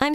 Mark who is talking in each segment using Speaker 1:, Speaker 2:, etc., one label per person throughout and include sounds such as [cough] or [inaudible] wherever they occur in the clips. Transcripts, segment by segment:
Speaker 1: I'm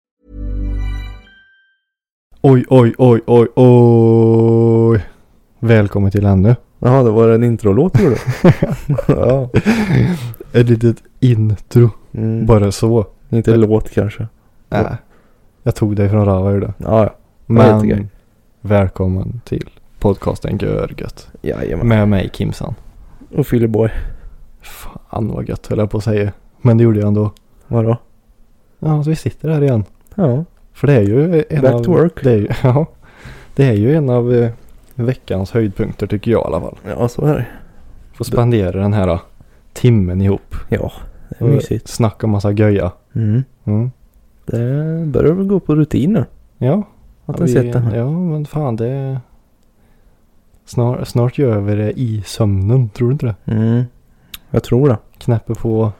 Speaker 2: Oj, oj, oj, oj, oj. Välkommen till
Speaker 3: [laughs]
Speaker 2: Annu.
Speaker 3: Jaha, det var en introlåt tror du?
Speaker 2: [laughs]
Speaker 3: ja.
Speaker 2: Ett litet intro.
Speaker 3: Mm.
Speaker 2: Bara så.
Speaker 3: Inte låt kanske.
Speaker 2: Nej. Jag tog dig från Rava gjorde. jag.
Speaker 3: Ja, ja. Ja,
Speaker 2: Men
Speaker 3: lite grej.
Speaker 2: välkommen till podcasten Görgött.
Speaker 3: Jajamän.
Speaker 2: Med mig Kimsan.
Speaker 3: Och Fylleborg.
Speaker 2: Fan vad gött höll jag på att säga. Men det gjorde jag ändå.
Speaker 3: Vadå?
Speaker 2: Ja, så vi sitter här igen.
Speaker 3: Ja.
Speaker 2: För det är ju en
Speaker 3: Back
Speaker 2: av...
Speaker 3: to work.
Speaker 2: Det är ju, [laughs] ja. Det är ju en av eh, veckans höjdpunkter tycker jag i alla fall.
Speaker 3: Ja, så är det.
Speaker 2: Få spendera den här eh, timmen ihop.
Speaker 3: Ja, det är
Speaker 2: Och
Speaker 3: mysigt.
Speaker 2: Snacka massa göja.
Speaker 3: Mm.
Speaker 2: Mm.
Speaker 3: Det börjar väl gå på rutin nu.
Speaker 2: Ja.
Speaker 3: Att
Speaker 2: Ja,
Speaker 3: jag
Speaker 2: vi-
Speaker 3: sett det här.
Speaker 2: Ja, men fan det... Snart, snart gör vi det i sömnen, tror du inte det?
Speaker 3: Mm. Jag tror det.
Speaker 2: Knäpper på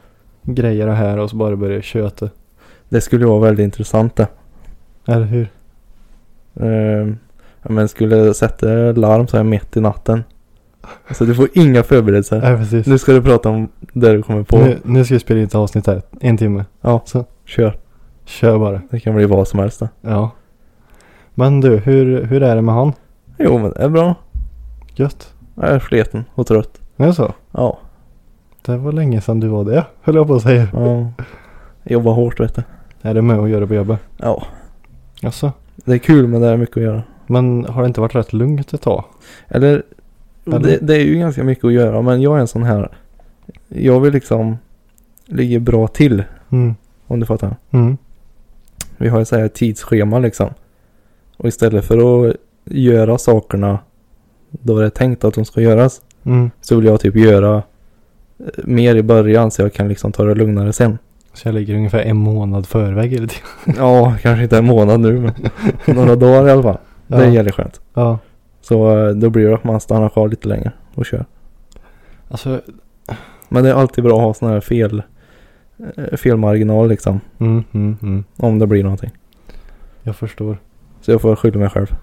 Speaker 2: grejer här och så bara börjar köta.
Speaker 3: Det skulle vara väldigt intressant det.
Speaker 2: Eller hur?
Speaker 3: Ehm, men skulle sätta larm så här mitt i natten. Så du får inga förberedelser.
Speaker 2: Ja, precis.
Speaker 3: Nu ska du prata om det du kommer på.
Speaker 2: Nu, nu ska vi spela in ett avsnitt här. En timme.
Speaker 3: Ja.
Speaker 2: Så,
Speaker 3: Kör.
Speaker 2: kör bara.
Speaker 3: Det kan bli vad som helst det.
Speaker 2: Ja. Men du, hur, hur är det med han?
Speaker 3: Jo men det är bra.
Speaker 2: Gött.
Speaker 3: Jag är sliten och trött.
Speaker 2: Är det så?
Speaker 3: Ja.
Speaker 2: Det var länge sedan du var det, höll jag på att säga.
Speaker 3: ja. Jobbar hårt vet du.
Speaker 2: Är det med att göra på jobbet?
Speaker 3: Ja.
Speaker 2: Jaså?
Speaker 3: Det är kul men det är mycket att göra.
Speaker 2: Men har det inte varit rätt lugnt ett tag?
Speaker 3: Eller,
Speaker 2: Eller?
Speaker 3: Det, det är ju ganska mycket att göra men jag är en sån här. Jag vill liksom ligga bra till
Speaker 2: Mm.
Speaker 3: om du fattar.
Speaker 2: Mm.
Speaker 3: Vi har ju så här tidsschema liksom. Och istället för att göra sakerna då det är tänkt att de ska göras.
Speaker 2: Mm.
Speaker 3: Så vill jag typ göra eh, mer i början så jag kan liksom ta det lugnare sen.
Speaker 2: Så jag ligger ungefär en månad förväg eller tiden.
Speaker 3: Ja, kanske inte en månad nu men [laughs] några dagar i alla fall. Det är jävligt skönt.
Speaker 2: Ja.
Speaker 3: Så eh, då blir det att man stannar kvar lite längre och kör.
Speaker 2: Alltså,
Speaker 3: Men det är alltid bra att ha sådana här fel, eh, felmarginal liksom.
Speaker 2: mm, mm, mm.
Speaker 3: Om det blir någonting.
Speaker 2: Jag förstår.
Speaker 3: Så jag får skylla mig själv.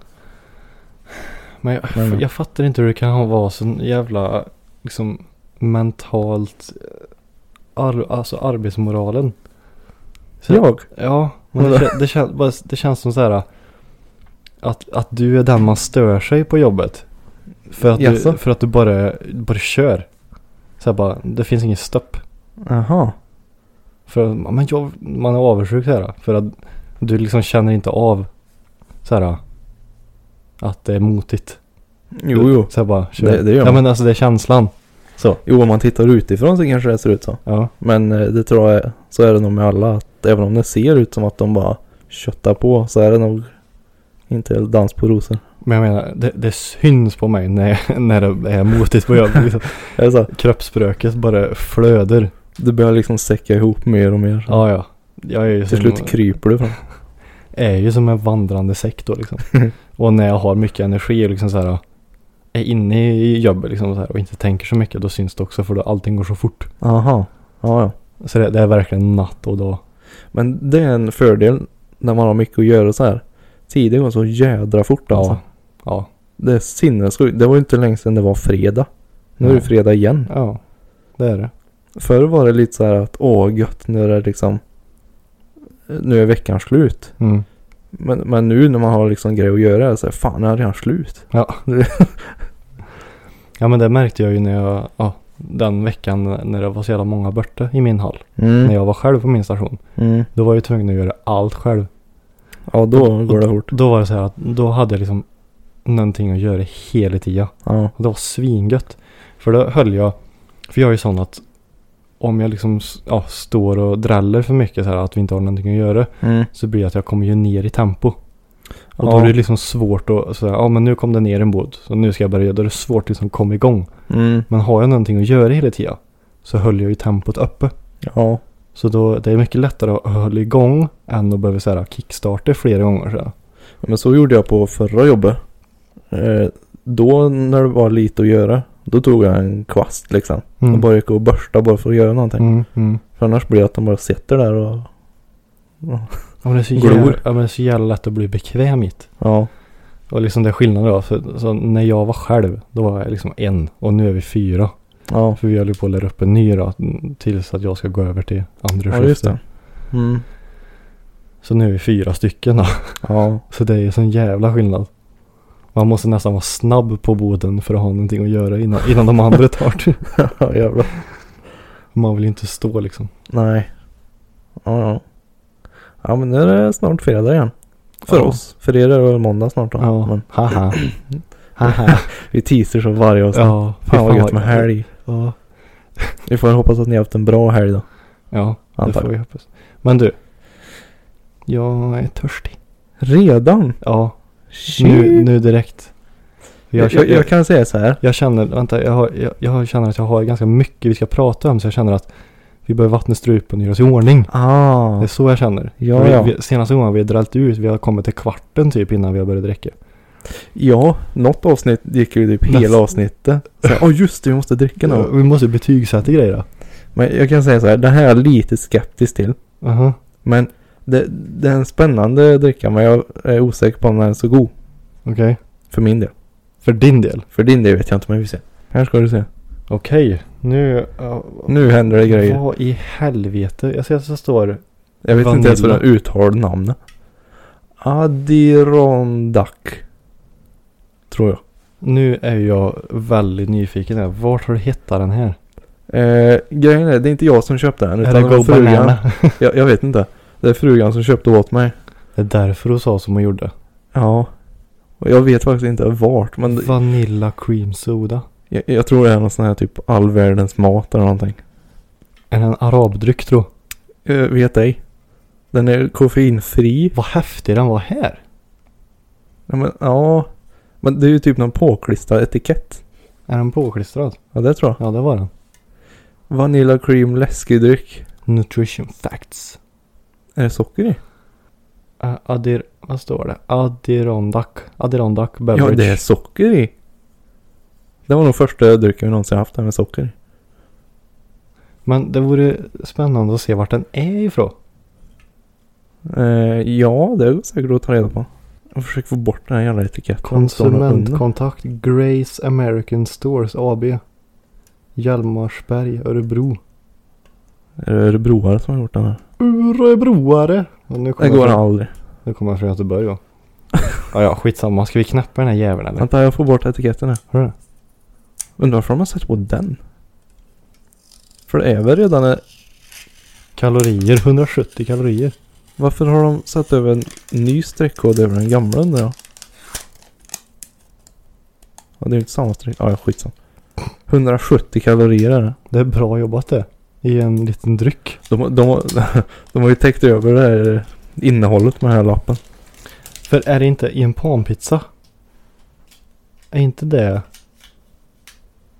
Speaker 2: Men jag,
Speaker 3: Men-
Speaker 2: jag fattar inte hur det kan ha- vara så jävla liksom mentalt eh, ar, alltså arbetsmoralen. Så-
Speaker 3: Jag?
Speaker 2: Ja, men det, kän- det, kän, bara- det känns som så här att, att du är den man stör sig på jobbet. För att,
Speaker 3: Jaså?
Speaker 2: du, för att du bara, bara kör. Så här bara, det finns ingen stopp.
Speaker 3: Jaha.
Speaker 2: För att man- men jag, man är avundsjuk så här. För att du liksom känner inte av så här att det är motigt.
Speaker 3: Jo, jo.
Speaker 2: Så här bara kör.
Speaker 3: Det- det gör
Speaker 2: Ja
Speaker 3: man.
Speaker 2: men alltså det är känslan. Så.
Speaker 3: Jo, om man tittar utifrån så kanske det ser ut så.
Speaker 2: Ja.
Speaker 3: Men eh, det tror jag, så är det nog med alla. Att även om det ser ut som att de bara köttar på så är det nog inte dans på rosor.
Speaker 2: Men jag menar det, det syns på mig när, [laughs] när det är motigt på
Speaker 3: [laughs]
Speaker 2: jobbet. Liksom.
Speaker 3: Är det så?
Speaker 2: Kroppsspråket bara flöder.
Speaker 3: Det börjar liksom säcka ihop mer och mer.
Speaker 2: Ja ja. Jag är ju
Speaker 3: Till
Speaker 2: som,
Speaker 3: slut kryper du fram.
Speaker 2: är ju som en vandrande säck då
Speaker 3: [laughs]
Speaker 2: liksom. och när jag har mycket energi och liksom så här är inne i jobbet liksom så här, och inte tänker så mycket då syns det också för då allting går så fort.
Speaker 3: Aha. Ja, ja.
Speaker 2: Så det, det är verkligen natt och dag.
Speaker 3: Men det är en fördel när man har mycket att göra så här. Tiden går så jädra fort alltså.
Speaker 2: Ja. Ja.
Speaker 3: Det är sinnessjukt. Det var ju inte länge sedan det var fredag. Nu är det
Speaker 2: Nej.
Speaker 3: fredag igen.
Speaker 2: Ja. Det är det.
Speaker 3: Förr var det lite så här att åh gött nu är det liksom. Nu är veckan slut.
Speaker 2: Mm.
Speaker 3: Men, men nu när man har liksom grejer att göra så här, fan är det redan slut?
Speaker 2: Ja. ja men det märkte jag ju när jag, ja, den veckan när det var så jävla många borta i min hall. När
Speaker 3: Mm.
Speaker 2: jag var själv på min station.
Speaker 3: Mm.
Speaker 2: Då var jag ju tvungen att göra allt själv.
Speaker 3: Ja då går det fort.
Speaker 2: Då var det så här att då hade jag liksom någonting att göra hela tiden.
Speaker 3: Ja.
Speaker 2: Och det var svingött. För då höll jag, för jag är ju sån att om jag liksom s- ja, står och dräller för mycket så här att vi inte har någonting att göra
Speaker 3: Mm.
Speaker 2: så blir det att jag kommer ju ner i tempo. Och då
Speaker 3: Ja.
Speaker 2: är det liksom svårt att säga, ja men nu kom det ner en båt, så nu ska jag börja. Då är det svårt att liksom komma igång.
Speaker 3: Mm.
Speaker 2: Men har jag någonting att göra hela tiden så höll jag ju tempot uppe.
Speaker 3: Ja.
Speaker 2: Så då, det är mycket lättare att hålla igång än att behöva så här, kickstarta flera gånger. Så här.
Speaker 3: Ja, Men så gjorde jag på förra jobbet. Eh, då när det var lite att göra. Då tog jag en kvast liksom. Och
Speaker 2: Mm.
Speaker 3: bara gick och börsta bara för att göra någonting.
Speaker 2: Mm, mm.
Speaker 3: För annars blir det att de bara sitter där och... och-
Speaker 2: Ja, men det är så
Speaker 3: Glor.
Speaker 2: jävla, ja, men det är så jävla lätt att bli bekväm i det.
Speaker 3: Ja.
Speaker 2: Och liksom det är skillnaden då. Så, så när jag var själv, då var jag liksom en. Och nu är vi fyra.
Speaker 3: Ja.
Speaker 2: För vi håller på att lära upp en ny då. mm, Tills att jag ska gå över till andra
Speaker 3: Ja just
Speaker 2: skiftet.
Speaker 3: det. Mm.
Speaker 2: Så nu är vi fyra stycken då.
Speaker 3: Ja. [laughs]
Speaker 2: Så det är ju sån jävla skillnad. Man måste nästan vara snabb på boden för att ha någonting att göra innan, innan de andra tar det.
Speaker 3: Ja, Jävlar.
Speaker 2: Man vill ju inte stå liksom.
Speaker 3: Nej. Ja ja. Ja men nu är det snart fredag igen. För
Speaker 2: Ja.
Speaker 3: oss. För er är det väl måndag snart då.
Speaker 2: Ja,
Speaker 3: Men [clears throat]
Speaker 2: haha. Haha.
Speaker 3: vi teaser så varje avsnitt.
Speaker 2: Ja,
Speaker 3: Fan vad gött med helg.
Speaker 2: Ja,
Speaker 3: Vi får hoppas att ni har haft en bra helg då.
Speaker 2: ja det
Speaker 3: Antar
Speaker 2: får
Speaker 3: jag.
Speaker 2: vi hoppas. Men du. Jag är törstig.
Speaker 3: Redan?
Speaker 2: Ja,
Speaker 3: Shit.
Speaker 2: nu, nu direkt. Jag, jag,
Speaker 3: jag, jag, kan säga så här.
Speaker 2: jag känner, vänta, jag, har, jag, jag känner att jag har ganska mycket vi ska prata om så jag känner att vi behöver vattna strupen och göra oss i ordning. Det
Speaker 3: Ah.
Speaker 2: är så jag känner.
Speaker 3: Ja,
Speaker 2: vi,
Speaker 3: ja.
Speaker 2: Vi, senaste gången vi har drällt ut, vi har kommit till kvarten typ innan vi har börjat dricka.
Speaker 3: Ja, något avsnitt gick ju typ
Speaker 2: Näst-
Speaker 3: hela avsnittet. Ja oh, just det, vi måste dricka
Speaker 2: Ja,
Speaker 3: nu.
Speaker 2: Vi måste betygsätta grejer då.
Speaker 3: Men jag kan säga så här, det här är jag lite skeptisk till.
Speaker 2: Aha.
Speaker 3: Men det, det är en spännande dricka men jag är osäker på om den är så god.
Speaker 2: Okej.
Speaker 3: För min del.
Speaker 2: För din del.
Speaker 3: För din del vet jag inte men vi får se. Här ska du se.
Speaker 2: Okej, nu... ja,
Speaker 3: Nu händer det grejer.
Speaker 2: Vad i helvete? Jag ser att det står...
Speaker 3: Jag vet inte ens hur den
Speaker 2: Vanilla.
Speaker 3: uttalar namnet. Adirondack. Tror jag.
Speaker 2: Nu är jag väldigt nyfiken här. Vart har du hittat den här?
Speaker 3: Eh, grejen är, det är inte jag som köpte den. Utan
Speaker 2: är
Speaker 3: det var frugan. Jag, jag vet inte. Det är frugan som köpte åt mig.
Speaker 2: Det är därför hon sa som hon gjorde.
Speaker 3: Ja. Och jag vet faktiskt inte vart men det-
Speaker 2: Vanilla cream soda.
Speaker 3: jag, jag tror det är någon sån här typ all världens mat eller någonting.
Speaker 2: Är det en arabdryck tro?
Speaker 3: Eh, vet ej. Den är koffeinfri.
Speaker 2: Vad häftig den var här.
Speaker 3: Ja men, ja. men det är ju typ någon påklistrad etikett.
Speaker 2: Är den påklistrad?
Speaker 3: Ja det tror jag.
Speaker 2: Ja, det var den.
Speaker 3: Vanilla cream läskedryck.
Speaker 2: Nutrition facts.
Speaker 3: Är det socker i?
Speaker 2: Uh, Adir... Vad står det? Adirondack. Adirondack
Speaker 3: Ja
Speaker 2: beverage.
Speaker 3: det är socker i. Det var nog första drycken vi någonsin haft där med socker i.
Speaker 2: Men det vore spännande att se vart den är ifrån.
Speaker 3: eh, Ja det går säkert att ta reda på. Jag försöker få bort den här jävla etiketten. Konsument.
Speaker 2: Konsumentkontakt Grace American Stores AB. Hjalmarsberg, Örebro.
Speaker 3: Är det Örebroare som har gjort den här?
Speaker 2: Örebroare! Och nu
Speaker 3: Det
Speaker 2: kommer
Speaker 3: går
Speaker 2: jag, från-
Speaker 3: aldrig.
Speaker 2: nu kommer jag från Göteborg va? ja, ja, skitsamma. Ska vi knäppa den här jäveln eller?
Speaker 3: Vänta jag får bort etiketten här.
Speaker 2: Hör du det?
Speaker 3: Undrar varför de har satt på den? För det är väl redan en
Speaker 2: Kalorier, 170 kalorier.
Speaker 3: Varför har de satt över en ny streckkod över den gamla undrar jag? Ja, det är ju inte samma streck. Ja, ja, skitsamma. 170 kalorier är det.
Speaker 2: Det är bra jobbat det. I en liten dryck.
Speaker 3: De, de, de har [laughs] ju täckt över det här innehållet med den här lappen.
Speaker 2: För är det inte i en panpizza? Är inte det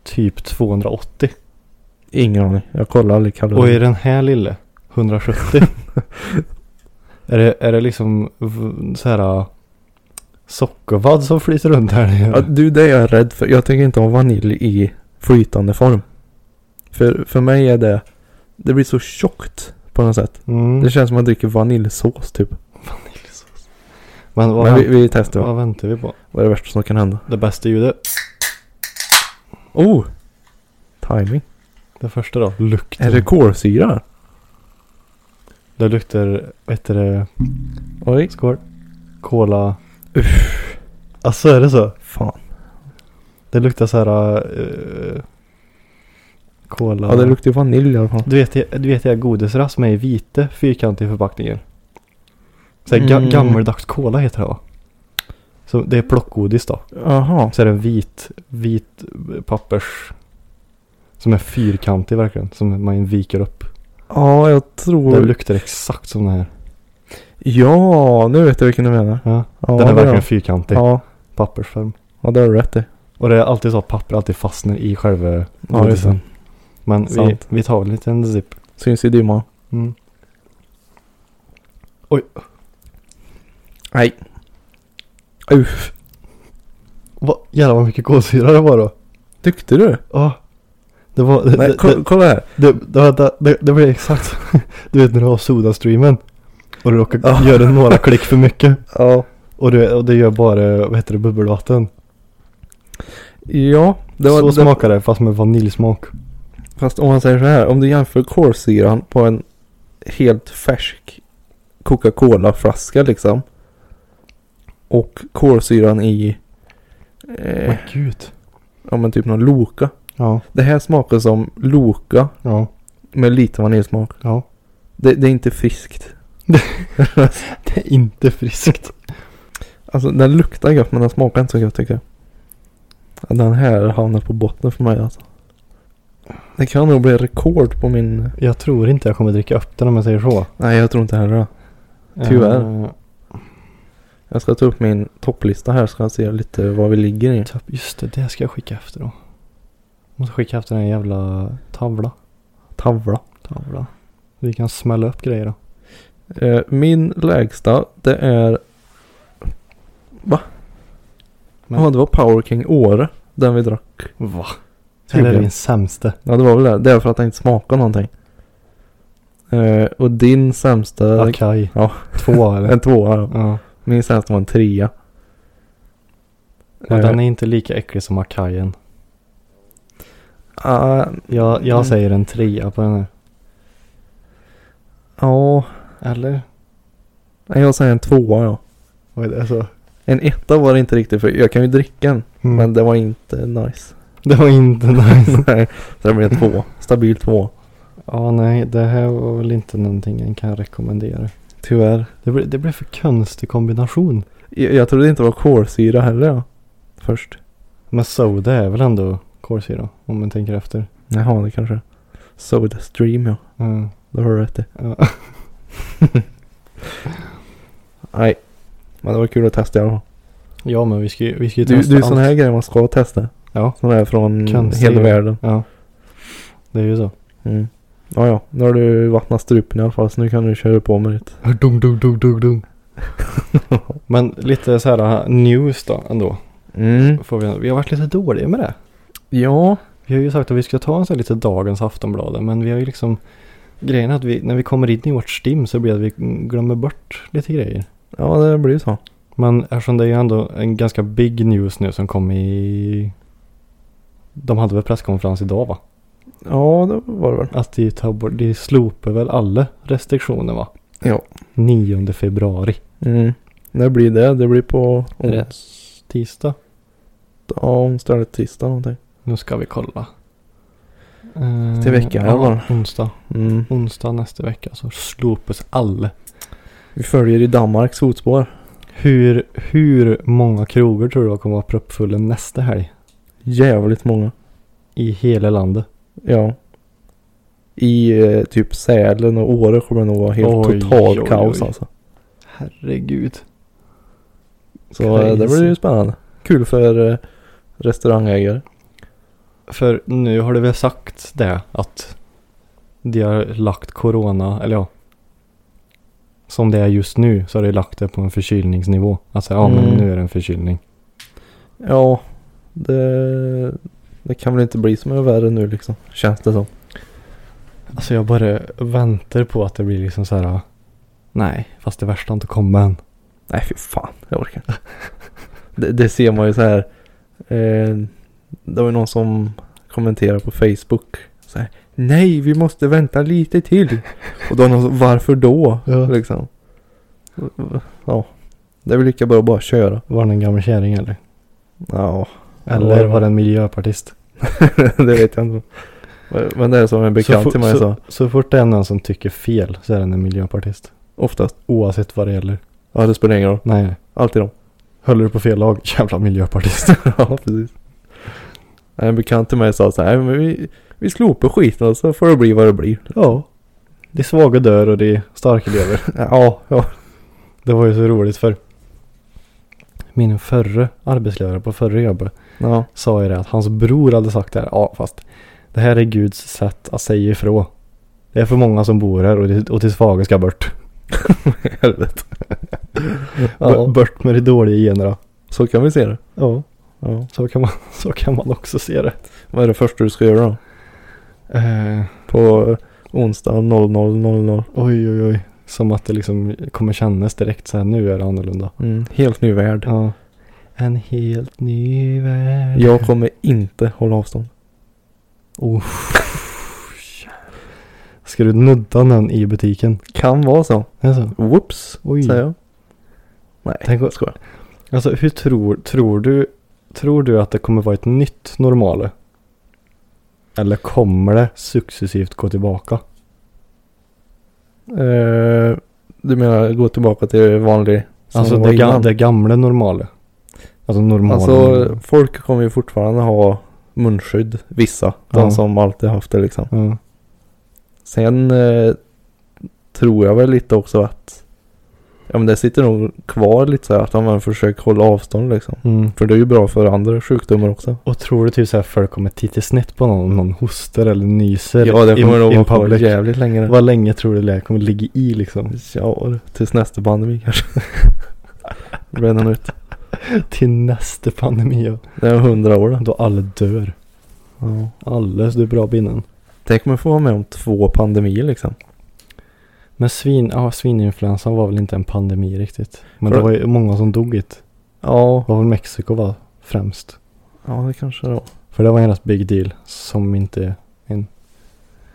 Speaker 2: typ 280?
Speaker 3: Ingen aning. Jag kollar aldrig kalorier.
Speaker 2: Och i den här lille,
Speaker 3: [laughs]
Speaker 2: 170. är, det, är det liksom v- så här äh, sockervadd som flyter runt här nere?
Speaker 3: ja, du, det är jag rädd för. Jag tänker inte ha vanilj i flytande form. För, för mig är det... Det blir så tjockt på något sätt.
Speaker 2: mm.
Speaker 3: Det känns som att man dricker vaniljsås typ.
Speaker 2: Men, vad,
Speaker 3: Men vi,
Speaker 2: vänt-
Speaker 3: vi testar.
Speaker 2: vad väntar vi på?
Speaker 3: Vad är det värsta som kan hända?
Speaker 2: Det bästa ljudet,
Speaker 3: Oh! Timing.
Speaker 2: det första då, lukten.
Speaker 3: Är det kolsyra?
Speaker 2: Det luktar, vad heter det,
Speaker 3: Oj.
Speaker 2: skål? Cola. Alltså är det så?
Speaker 3: Fan.
Speaker 2: Det luktar så här äh, Cola.
Speaker 3: Ja, det luktar ju vanilj i alla fall.
Speaker 2: Du vet, du vet det här godisras med i vita fyrkantiga förpackningar? Såhär ga-
Speaker 3: Mm.
Speaker 2: gammeldags cola heter det va? Så det är plockgodis då.
Speaker 3: Jaha.
Speaker 2: Så är det en vit, vit pappers. Som är fyrkantig verkligen. Som man viker upp.
Speaker 3: Ja, jag
Speaker 2: Det
Speaker 3: tror...
Speaker 2: luktar exakt som den här.
Speaker 3: ja, nu vet jag vilken du menar.
Speaker 2: Ja.
Speaker 3: Ja,
Speaker 2: den är
Speaker 3: det
Speaker 2: verkligen
Speaker 3: ja.
Speaker 2: fyrkantig.
Speaker 3: Ja,
Speaker 2: Pappersform.
Speaker 3: ja, det har du rätt i.
Speaker 2: Och det är alltid så att papper alltid fastnar i själva
Speaker 3: Ja, just
Speaker 2: godisen.
Speaker 3: det.
Speaker 2: Men vi,
Speaker 3: Sant.
Speaker 2: vi tar en liten zip.
Speaker 3: Syns i dimman.
Speaker 2: Mm.
Speaker 3: Nej. Uff.
Speaker 2: Va? Jävlar vad mycket kolsyra det var då.
Speaker 3: Tyckte du?
Speaker 2: Ja. Det var... Det,
Speaker 3: Nej,
Speaker 2: det,
Speaker 3: ko- kolla här.
Speaker 2: det, det, vänta, det, det blir exakt... [laughs] Du vet när du har sodastreamen. Och du råkar
Speaker 3: Ja.
Speaker 2: göra några klick [laughs] för mycket.
Speaker 3: Ja.
Speaker 2: Och, du, och det gör bara, vad heter det, bubbelvatten.
Speaker 3: Ja. Det var,
Speaker 2: så
Speaker 3: det,
Speaker 2: smakar det Eh. fast med vaniljsmak.
Speaker 3: Fast om man säger så här. Om du jämför kolsyran på en helt färsk Coca-Cola-flaska liksom. Och kolsyran i eh,
Speaker 2: Men gud.
Speaker 3: ja, men typ någon Loka.
Speaker 2: Ja,
Speaker 3: Det här smakar som Loka
Speaker 2: ja,
Speaker 3: med lite vaniljsmak.
Speaker 2: [laughs] ja.
Speaker 3: Det, det är inte friskt.
Speaker 2: Det är inte friskt.
Speaker 3: Alltså den luktar gött men den smakar inte så gött tycker jag. Ja, Den här hamnar på botten för mig alltså. Det kan nog bli rekord på min...
Speaker 2: Jag tror inte jag kommer dricka upp den om jag säger så.
Speaker 3: Nej jag tror inte heller det. Tyvärr.
Speaker 2: Eh,
Speaker 3: Jag ska ta upp min topplista här så ska jag se lite vad vi ligger
Speaker 2: tapp-
Speaker 3: i.
Speaker 2: Typ, just det, det ska jag skicka efter då. Måste skicka efter den här jävla tavla.
Speaker 3: Tavla.
Speaker 2: Tavla. Vi kan smälla upp grejer då.
Speaker 3: Eh, min lägsta det är... Va?
Speaker 2: Men-
Speaker 3: Ja det var Power King Åre. Den vi drack.
Speaker 2: Va? Det
Speaker 3: Typ,
Speaker 2: är
Speaker 3: ja.
Speaker 2: din sämsta.
Speaker 3: ja det var väl det. Det är för att den inte smakar någonting. Eh, och din sämsta...
Speaker 2: Akaj.
Speaker 3: Ja.
Speaker 2: Två eller?
Speaker 3: En tvåa då.
Speaker 2: ja.
Speaker 3: Min sämsta var en trea.
Speaker 2: Och
Speaker 3: Eh,
Speaker 2: den är inte lika äcklig som akajen.
Speaker 3: ah,
Speaker 2: Jag,
Speaker 3: Mm.
Speaker 2: jag säger en trea på den här.
Speaker 3: Ja,
Speaker 2: Eller?
Speaker 3: nej, jag säger en tvåa ja.
Speaker 2: Vad är det så?
Speaker 3: En etta var det inte riktigt för jag kan ju dricka den.
Speaker 2: Mm.
Speaker 3: Men det var
Speaker 2: [laughs]
Speaker 3: inte nice.
Speaker 2: Det var inte nice.
Speaker 3: nej, så det blev en tvåa. Stabil tvåa.
Speaker 2: Ja, nej. Det här var väl inte någonting jag kan rekommendera.
Speaker 3: Tyvärr.
Speaker 2: Det blev, det blev för konstig kombination.
Speaker 3: Jag, jag trodde inte det var kolsyra heller ja. Först.
Speaker 2: Men soda är väl ändå kolsyra om man tänker efter.
Speaker 3: Jaha, det kanske. Soda Stream ja.
Speaker 2: Mm.
Speaker 3: Det har du rätt i.
Speaker 2: Ja.
Speaker 3: Nej. Men det var kul att testa i alla fall.
Speaker 2: [laughs] Ja, men vi ska ju, vi ska ju
Speaker 3: Du,
Speaker 2: testa
Speaker 3: du är
Speaker 2: allt.
Speaker 3: sån här grejer man ska testa.
Speaker 2: Ja.
Speaker 3: Sån här från
Speaker 2: Konstiga.
Speaker 3: hela världen.
Speaker 2: Ja. Det är ju så.
Speaker 3: Mm. Ja, ja. Nu har du vattnat strupen i alla fall så nu kan du köra på med ditt.
Speaker 2: Dung, dung, dung, dung, dung. men lite så här äh, news då ändå.
Speaker 3: Mm.
Speaker 2: Får vi, vi har varit lite dåliga med det.
Speaker 3: Ja.
Speaker 2: Vi har ju sagt att vi ska ta en sån här lite dagens Aftonbladet men vi har ju liksom Grejen är att vi, när vi kommer in i vårt stim så blir det att vi glömmer bort lite grejer.
Speaker 3: Ja, det blir ju så.
Speaker 2: Men eftersom det är ju ändå en ganska big news nu som kom i De hade väl presskonferens idag va?
Speaker 3: Ja, det var det väl.
Speaker 2: Att de tar bort, de slopar väl alla restriktioner va?
Speaker 3: Ja.
Speaker 2: 9 februari.
Speaker 3: Mm. När blir det? Det blir på
Speaker 2: Är det
Speaker 3: onsdag,
Speaker 2: tisdag?
Speaker 3: ja, onsdag eller tisdag någonting.
Speaker 2: Nu ska vi kolla. Eh,
Speaker 3: Till veckan,
Speaker 2: ja,
Speaker 3: eller?
Speaker 2: onsdag.
Speaker 3: Mm.
Speaker 2: Onsdag nästa vecka så slopas alla.
Speaker 3: Vi följer i Danmarks fotspår.
Speaker 2: Hur, hur många krogar tror du kommer vara proppfulla nästa helg?
Speaker 3: Jävligt många.
Speaker 2: I hela landet?
Speaker 3: Ja. I eh, typ Sälen och Åre kommer det nog vara helt
Speaker 2: Oj,
Speaker 3: totalt
Speaker 2: oj,
Speaker 3: kaos
Speaker 2: oj.
Speaker 3: alltså.
Speaker 2: Herregud.
Speaker 3: Så eh, det
Speaker 2: Crazy.
Speaker 3: blir ju spännande. Kul för eh, restaurangägare.
Speaker 2: För nu har du väl sagt det att de har lagt corona, eller ja. Som det är just nu så har de lagt det på en förkylningsnivå. Alltså ja men
Speaker 3: Mm.
Speaker 2: nu är det en förkylning.
Speaker 3: Ja, det, det kan väl inte bli som är värre nu liksom. Känns det som.
Speaker 2: Alltså jag bara väntar på att det blir liksom så här. Nej, fast det värsta har inte kommit än.
Speaker 3: Nej fy fan, jag orkar inte. det, det ser man ju så här. Eh, det var ju någon som kommenterade på Facebook. Så här, Nej, vi måste vänta lite till. Och då är någon som, varför då?
Speaker 2: Ja.
Speaker 3: Liksom. Ja. Det är väl lika bra att bara köra.
Speaker 2: Var det en gammal kärring eller?
Speaker 3: Ja, [laughs]
Speaker 2: Eller var det en miljöpartist?
Speaker 3: det vet jag inte. Men det är som en
Speaker 2: så,
Speaker 3: bekant
Speaker 2: fort-
Speaker 3: till mig
Speaker 2: så,
Speaker 3: sa.
Speaker 2: så fort det är någon som tycker fel så är den en miljöpartist.
Speaker 3: Oftast.
Speaker 2: Oavsett vad det gäller.
Speaker 3: Ja, det spelar ingen roll.
Speaker 2: Nej,
Speaker 3: Alltid dem. [laughs]
Speaker 2: höll du på fel lag? [laughs] Jävla miljöpartist.
Speaker 3: ja, precis. En bekant till mig sa så här. "Nej, Men vi, vi slopar skiten och så får det bli vad det blir.
Speaker 2: [laughs] ja. De svaga dör och de starka [laughs] lever.
Speaker 3: Ja, ja.
Speaker 2: Det var ju så roligt för min förre arbetsledare på förra jobbet
Speaker 3: Ja,
Speaker 2: sa ju det att hans bror hade sagt det här. Ja, fast det här är Guds sätt att säga ifrån. Det är för många som bor här och det, och till svaga ska bort.
Speaker 3: Helvete.
Speaker 2: B- Bort med de dåliga generna.
Speaker 3: Så kan vi se det.
Speaker 2: Ja,
Speaker 3: Ja.
Speaker 2: så kan man, [laughs] så kan man också se det.
Speaker 3: Vad är det första du ska göra då?
Speaker 2: Eh,
Speaker 3: På onsdag 00.00.
Speaker 2: oj, oj, oj. Som att det liksom kommer kännas direkt så här, nu är det annorlunda.
Speaker 3: Mm. Helt ny värld.
Speaker 2: Ja. En helt ny värld.
Speaker 3: Jag kommer inte hålla avstånd.
Speaker 2: Ska du nudda någon i butiken?
Speaker 3: Kan vara så.
Speaker 2: Alltså,
Speaker 3: Whoops.
Speaker 2: Oj.
Speaker 3: Säger jag.
Speaker 2: tänk,
Speaker 3: Jag skojar.
Speaker 2: alltså hur tror, tror du, tror du att det kommer vara ett nytt normale? Eller kommer det successivt gå tillbaka?
Speaker 3: Eh, du menar gå tillbaka till vanlig? som
Speaker 2: alltså
Speaker 3: var
Speaker 2: det, ga,
Speaker 3: innan?
Speaker 2: det gamla normale. Alltså normale.
Speaker 3: Alltså folk kommer ju fortfarande ha munskydd. Vissa. De
Speaker 2: Ja.
Speaker 3: som alltid haft det liksom.
Speaker 2: ja.
Speaker 3: Sen eh, tror jag väl lite också att ja, men det sitter nog kvar lite så här att man försöker hålla avstånd liksom.
Speaker 2: mm.
Speaker 3: För det är ju bra för andra sjukdomar också.
Speaker 2: Och tror du typ så här folk kommer titta snett på någon om någon hostar eller nyser?
Speaker 3: Ja, det kommer
Speaker 2: in-
Speaker 3: nog
Speaker 2: in
Speaker 3: vara kvar
Speaker 2: public?
Speaker 3: jävligt länge. det.
Speaker 2: Vad länge tror du det kommer ligga i liksom?
Speaker 3: Ja, tills nästa pandemi kanske. Bränner ut.
Speaker 2: [laughs] Till nästa pandemi ja.
Speaker 3: Det är hundra år då.
Speaker 2: Då alla dör.
Speaker 3: Ja.
Speaker 2: Alldeles, du är bra binnen.
Speaker 3: Tänk om jag får vara med om två pandemier liksom.
Speaker 2: Men svin, ja, svininfluensan var väl inte en pandemi riktigt. Men
Speaker 3: För-
Speaker 2: det var ju många som dog i det.
Speaker 3: Ja,
Speaker 2: Det var väl Mexiko var främst.
Speaker 3: ja det kanske det var.
Speaker 2: För det var en rätt big deal som inte en...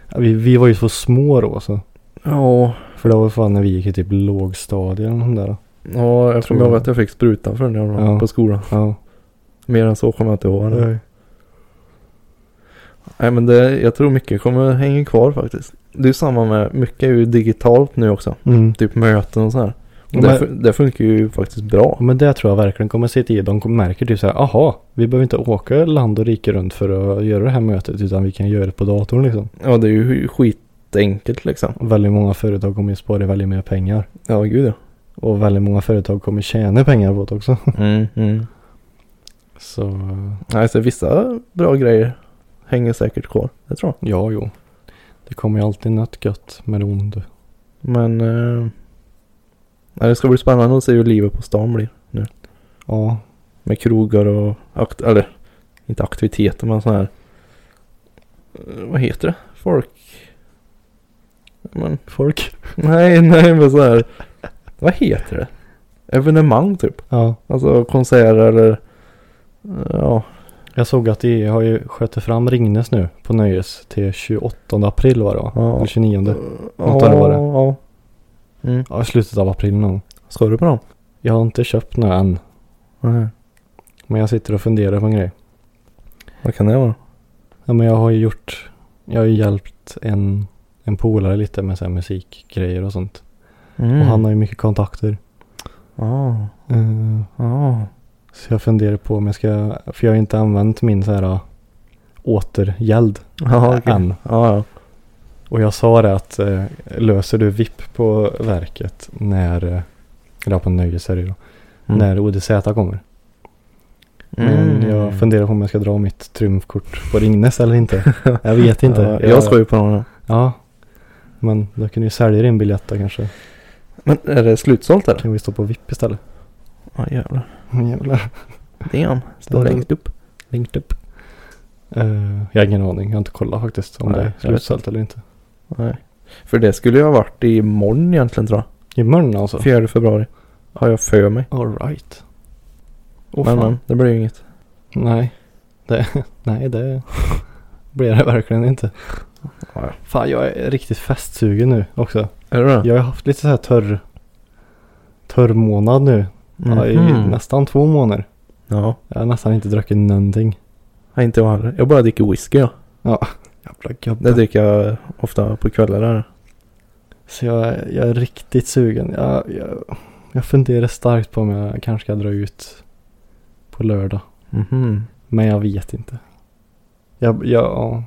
Speaker 2: Ja, vi, vi var ju så små då så.
Speaker 3: Ja,
Speaker 2: För det var fan när vi gick i typ lågstadiet eller nåt där. då.
Speaker 3: ja jag
Speaker 2: Tror
Speaker 3: kommer ihåg
Speaker 2: jag.
Speaker 3: att jag fick sprutan för när jag var
Speaker 2: Ja.
Speaker 3: på skolan.
Speaker 2: Ja.
Speaker 3: Mer än så kommer jag inte ihåg. det. Nej men det, jag tror mycket kommer hänga kvar faktiskt. Det är samma med, mycket är ju digitalt nu också.
Speaker 2: Mm.
Speaker 3: Typ möten och så här. Och
Speaker 2: Men-
Speaker 3: det, fun- det funkar ju faktiskt bra.
Speaker 2: Men det tror jag verkligen kommer sitta i. De kommer- märker typ så här, aha, vi behöver inte åka land och rike runt för att göra det här mötet utan vi kan göra det på datorn liksom.
Speaker 3: Ja det är ju skitenkelt liksom.
Speaker 2: Och väldigt många företag kommer ju spara väldigt mer pengar.
Speaker 3: Ja gud ja. [laughs]
Speaker 2: Och väldigt många företag kommer tjäna pengar på det också.
Speaker 3: Mm, mm.
Speaker 2: Så eh,
Speaker 3: Alltså vissa bra grejer hänger säkert kvar. Det tror jag.
Speaker 2: ja, jo. Det kommer ju alltid något gött med det onda.
Speaker 3: Men eh, nej, det ska bli spännande att se hur livet på stan blir.
Speaker 2: Ja,
Speaker 3: Med krogar och akt eller inte aktiviteter men sådana här. eh, Vad heter det? Folk. Men
Speaker 2: folk.
Speaker 3: Nej, [laughs] nej men så här. Vad heter det? Evenemang typ.
Speaker 2: Ja,
Speaker 3: Alltså konserter eller eh, ja,
Speaker 2: jag såg att EU har ju skjutit fram Ringnes nu på Nöjes till 28 april var det va?
Speaker 3: Ja.
Speaker 2: Eller 29.
Speaker 3: ja,
Speaker 2: Något av det var det.
Speaker 3: ja. Mm.
Speaker 2: Ja, i slutet av april någon.
Speaker 3: Ska du på dem?
Speaker 2: Jag har inte köpt några än.
Speaker 3: Nej.
Speaker 2: Men jag sitter och funderar på en grej.
Speaker 3: Vad kan det vara?
Speaker 2: Ja, men jag har ju gjort, jag har ju hjälpt en, en polare lite med så här musikgrejer och sånt.
Speaker 3: Mm. Ah,
Speaker 2: Och han har ju mycket kontakter.
Speaker 3: Ja,
Speaker 2: Eh,
Speaker 3: ja.
Speaker 2: så jag funderar på om jag ska, för jag har ju inte använt min så här eh, återgäld
Speaker 3: Ja, okej.
Speaker 2: än.
Speaker 3: Ja, ja.
Speaker 2: Och jag sa det att eh, löser du VIP på verket när, eh, eller på Nöjes är det ju då,
Speaker 3: Mm.
Speaker 2: när ODZ kommer. Men jag funderar på om jag ska dra mitt triumfkort på Ringnes eller
Speaker 3: [laughs]
Speaker 2: inte. Jag vet inte.
Speaker 3: Ja, jag ska ju på dem. ja.
Speaker 2: Ja. Men då kan du ju sälja din biljett då kanske.
Speaker 3: Men är det slutsålt eller?
Speaker 2: Kan vi stå på VIP istället? Mm,
Speaker 3: Ja jävlar.
Speaker 2: Jävlar.
Speaker 3: Damn. Står
Speaker 2: Ja, det-
Speaker 3: längst upp.
Speaker 2: Linked up. Eh, jag har ingen aning. Jag har inte kollat faktiskt om
Speaker 3: Nej,
Speaker 2: det är
Speaker 3: jag
Speaker 2: slutsålt eller inte.
Speaker 3: Nej. För det skulle ju ha varit imorgon egentligen tror
Speaker 2: Imorgon alltså?
Speaker 3: jag. 4 februari. Har jag för mig.
Speaker 2: Alright. Åh
Speaker 3: men
Speaker 2: fan.
Speaker 3: men det blir ju inget.
Speaker 2: Nej. Det, [laughs] nej, det blir det verkligen inte.
Speaker 3: Ja.
Speaker 2: Fan, jag är riktigt festsugen nu också.
Speaker 3: Är det det?
Speaker 2: Jag har haft lite så här törr, törr månad nu. Ja, i
Speaker 3: Mhm.
Speaker 2: nästan två månader.
Speaker 3: Ja,
Speaker 2: Jag har nästan inte druckit någonting.
Speaker 3: nej, inte jag heller. Jag bara dricker whisky ja.
Speaker 2: Jävla
Speaker 3: Det
Speaker 2: gubbe.
Speaker 3: dricker jag ofta på kvällar där.
Speaker 2: Så jag, jag är riktigt sugen. Jag, jag, jag funderar starkt på om jag kanske ska dra ut på lördag.
Speaker 3: Mhm.
Speaker 2: Men jag vet inte. Jag, jag, ja.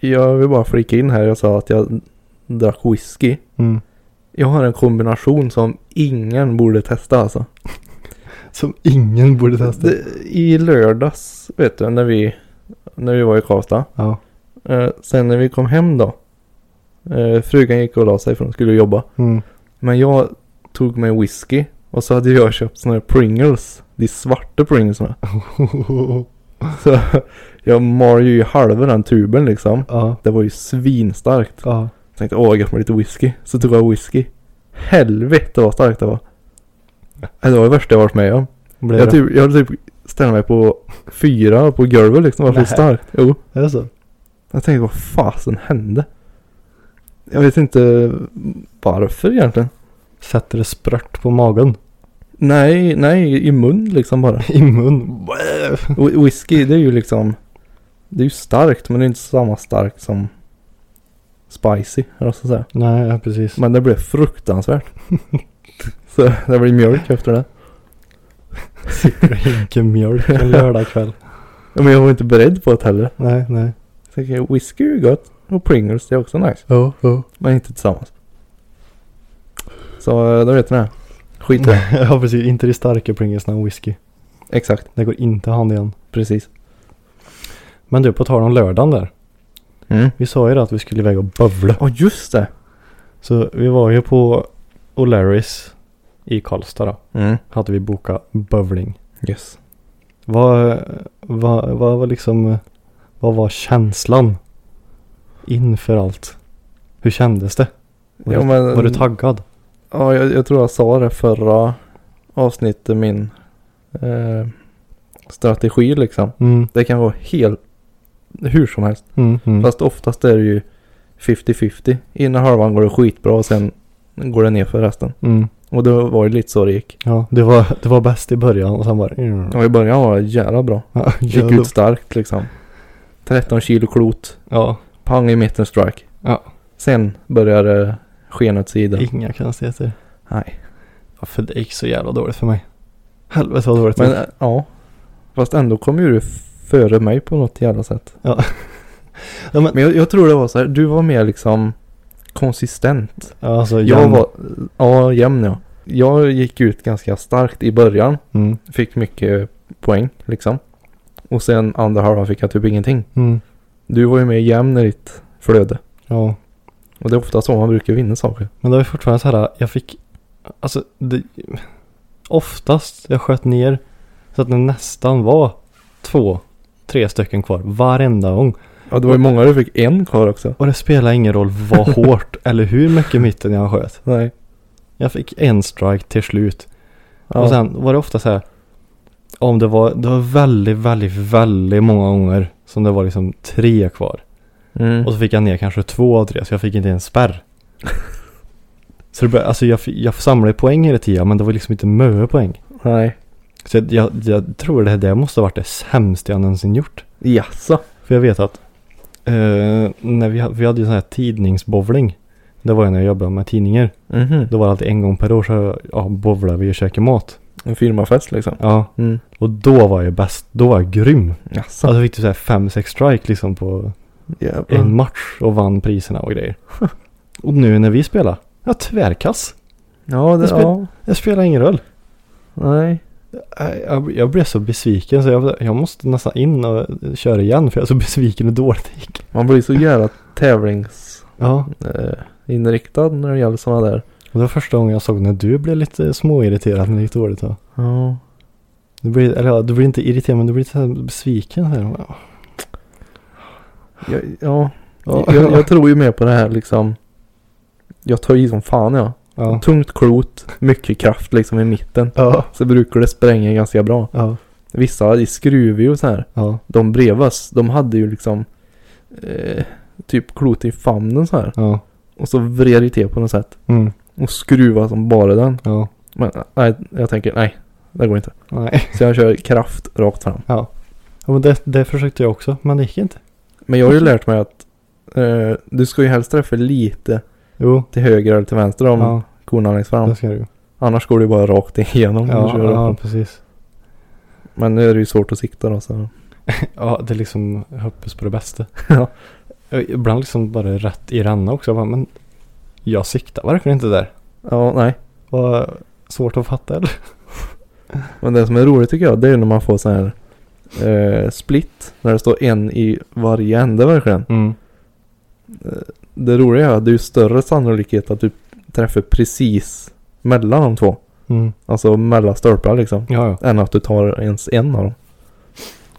Speaker 3: Jag vill bara flika in här. Jag sa att jag drack whisky.
Speaker 2: mm.
Speaker 3: Jag har en kombination som ingen borde testa alltså.
Speaker 2: Som ingen borde testa.
Speaker 3: Det, I lördags vet du när vi, när vi var i Karlstad.
Speaker 2: Ja.
Speaker 3: Eh, sen när vi kom hem då. Eh, frugan gick och la sig för hon skulle jobba.
Speaker 2: Mm. [laughs]
Speaker 3: Men jag tog med whisky. Och så hade jag köpt såna här Pringles. De svarta Pringlesna. Så jag mar ju i halva den tuben liksom.
Speaker 2: ja.
Speaker 3: Det var ju svinstarkt.
Speaker 2: Ja.
Speaker 3: Tänkte åh jag gött med lite whisky. Så tog jag whisky. Helvete vad starkt det var. Alltså, Det var det värsta jag varit med om.
Speaker 2: Blev
Speaker 3: Jag,
Speaker 2: det?
Speaker 3: typ, jag hade typ ställt mig på fyra på golvet liksom. Det var
Speaker 2: Nej.
Speaker 3: så starkt. Jo.
Speaker 2: Är det så?
Speaker 3: Jag tänkte vad fasen hände? Jag vet inte varför egentligen.
Speaker 2: Sätter det sprört på magen? [laughs]
Speaker 3: Nej, nej i mun liksom bara.
Speaker 2: I mun?
Speaker 3: Wh- Whisky det är ju liksom. Det är ju starkt men det är inte samma starkt som spicy. Eller vad ska jag säga.
Speaker 2: Nej, ja, precis.
Speaker 3: Men det blev fruktansvärt. [laughs] så det blir mjölk efter det.
Speaker 2: Dricker mjölk en lördagkväll.
Speaker 3: Ja, Men jag var inte beredd på det heller.
Speaker 2: Nej, nej.
Speaker 3: Jag tänker whisky är ju gott. Och Pringles det är också nice.
Speaker 2: Ja, ja.
Speaker 3: Men inte tillsammans. Så eh, då vet ni det. Skit i det.
Speaker 2: [laughs] ja, precis. Inte de starka Pringlesna och whisky.
Speaker 3: Exakt.
Speaker 2: Det går inte hand i hand.
Speaker 3: Precis.
Speaker 2: Men du, på tal om lördagen där.
Speaker 3: Mm.
Speaker 2: Vi sa ju det att vi skulle iväg och bövla.
Speaker 3: Ja just det.
Speaker 2: Så vi var ju på O'Larrys i Karlstad då.
Speaker 3: Mm.
Speaker 2: Hade vi bokat bövling.
Speaker 3: Yes.
Speaker 2: Vad, vad, vad var liksom, vad var känslan? Inför allt. Hur kändes det? Var,
Speaker 3: Ja,
Speaker 2: du,
Speaker 3: men-
Speaker 2: var du taggad?
Speaker 3: Ja, jag, jag tror jag sa det förra avsnittet min eh, strategi liksom.
Speaker 2: Mm,
Speaker 3: Det kan vara helt hur som helst.
Speaker 2: mm, mm.
Speaker 3: Fast oftast är det ju 50-50. Ena halvan går det skitbra och sen går det ner för resten.
Speaker 2: mm.
Speaker 3: Och det var ju lite så det gick.
Speaker 2: Ja, det var, det var bäst i början och sen bara... Mm.
Speaker 3: Och i början var det jävla bra.
Speaker 2: [laughs] Ja,
Speaker 3: Gick ut starkt liksom. 13 kilo klot.
Speaker 2: Ja,
Speaker 3: Pang i mitten strike.
Speaker 2: Ja.
Speaker 3: Sen började det skena åt sidan.
Speaker 2: inga konstigheter.
Speaker 3: Nej.
Speaker 2: Ja, för det gick så jävla dåligt för mig. Helvete vad dåligt.
Speaker 3: Men
Speaker 2: det gick.
Speaker 3: eh, ja. Fast ändå kom ju du före mig på något jävla sätt.
Speaker 2: Ja. Ja, men-
Speaker 3: men jag, jag tror det var så här. Du var mer liksom konsistent.
Speaker 2: ja, alltså,
Speaker 3: Jag
Speaker 2: jämn.
Speaker 3: var, ja jämn ja. Jag gick ut ganska starkt i början.
Speaker 2: Mm.
Speaker 3: Fick mycket poäng liksom. Och sen andra halvan fick jag typ ingenting.
Speaker 2: Mm.
Speaker 3: Du var ju mer jämn i ditt flöde.
Speaker 2: Ja.
Speaker 3: Och det är ofta så man brukar vinna saker.
Speaker 2: Men det var ju fortfarande så här, jag fick, alltså det, oftast jag sköt ner så att det nästan var två, tre stycken kvar varenda gång.
Speaker 3: Ja det var ju många du fick en kvar också.
Speaker 2: Och det spelar ingen roll vad [laughs] hårt eller hur mycket mitten jag sköt.
Speaker 3: Nej.
Speaker 2: Jag fick en strike till slut.
Speaker 3: Ja.
Speaker 2: Och sen var det ofta så här, om det var, det var väldigt, väldigt, väldigt många gånger som det var liksom tre kvar.
Speaker 3: mm.
Speaker 2: Och så fick jag ner kanske två av tre så jag fick inte en spärr. Så det började, alltså jag, fi- jag samlade poäng hela tiden men det var liksom inte mö poäng.
Speaker 3: Nej.
Speaker 2: Så jag- jag, jag tror det, det måste ha varit det sämsta jag någonsin gjort.
Speaker 3: Jaså?
Speaker 2: För jag vet att eh, när vi, ha- vi hade ju sån här tidningsbowling. Det var ju när jag jobbade med tidningar.
Speaker 3: Mhm.
Speaker 2: Då var det alltid en gång per år så ja, bowlade vi och käkade mat.
Speaker 3: En firmafest liksom.
Speaker 2: Ja,
Speaker 3: Mm.
Speaker 2: och då var jag bäst. Då var jag grym.
Speaker 3: Jaså?
Speaker 2: Alltså jag fick typ såhär 5-6 strike liksom på
Speaker 3: Jävlar.
Speaker 2: en match och vann priserna och grejer. [laughs] Och nu när vi spelar, ja tvärkass.
Speaker 3: Ja, det,
Speaker 2: Jag spel-
Speaker 3: ja.
Speaker 2: Det spelar ingen roll.
Speaker 3: Nej.
Speaker 2: Jag, jag, jag blev så besviken så jag, jag måste nästan in och köra igen för jag är så [laughs] besviken hur dåligt det gick.
Speaker 3: Man blir så jävla tävlingsinriktad
Speaker 2: Ja,
Speaker 3: eh, inriktad när det gäller sådana där.
Speaker 2: och det var första gången jag såg när du blev lite småirriterad när det gick dåligt. va?
Speaker 3: Ja.
Speaker 2: Du blir, eller ja, du blir inte irriterad men du blir lite så här besviken. Här. Ja.
Speaker 3: Jag, ja.
Speaker 2: Ja.
Speaker 3: Jag, jag tror ju mer på det här liksom. Jag tar i som fan ja.
Speaker 2: Ja.
Speaker 3: Tungt klot, mycket kraft liksom i mitten.
Speaker 2: Ja.
Speaker 3: Så brukar det spränga ganska bra.
Speaker 2: Ja.
Speaker 3: Vissa i skruv ju så här.
Speaker 2: Ja.
Speaker 3: De bredvid oss, de hade ju liksom eh, typ klot i famnen så här.
Speaker 2: Ja.
Speaker 3: Och så vred det till på något sätt.
Speaker 2: Mm.
Speaker 3: Och skruva som bara den.
Speaker 2: Ja.
Speaker 3: Men nej, jag tänker nej, det går inte.
Speaker 2: Nej.
Speaker 3: Så jag kör kraft rakt fram.
Speaker 2: Ja, men det, det försökte jag också men det gick inte.
Speaker 3: Men jag har ju lärt mig att eh, du ska ju helst träffa lite
Speaker 2: Jo.
Speaker 3: till höger eller till vänster om
Speaker 2: Ja,
Speaker 3: korna längst
Speaker 2: det
Speaker 3: fram.
Speaker 2: ska du.
Speaker 3: Annars går du bara rakt igenom. när du
Speaker 2: Ja,
Speaker 3: kör
Speaker 2: ja,
Speaker 3: upp.
Speaker 2: precis.
Speaker 3: Men nu är det ju svårt att sikta då så.
Speaker 2: [laughs] Ja, det är liksom jag hoppas på det bästa. [laughs]
Speaker 3: Ja.
Speaker 2: Ibland liksom bara rätt i ränna också. Jag bara, men jag siktar verkligen inte där.
Speaker 3: Ja, nej.
Speaker 2: Vad svårt att fatta eller?
Speaker 3: Men det som är roligt tycker jag det är när man får så här eh, split. När det står en i varje ände verkligen.
Speaker 2: Mm.
Speaker 3: Det roliga är att det är ju större sannolikhet att du träffar precis mellan de två.
Speaker 2: Mm.
Speaker 3: Alltså mellan stolpar liksom.
Speaker 2: Ja, ja.
Speaker 3: Än att du tar ens en av dem.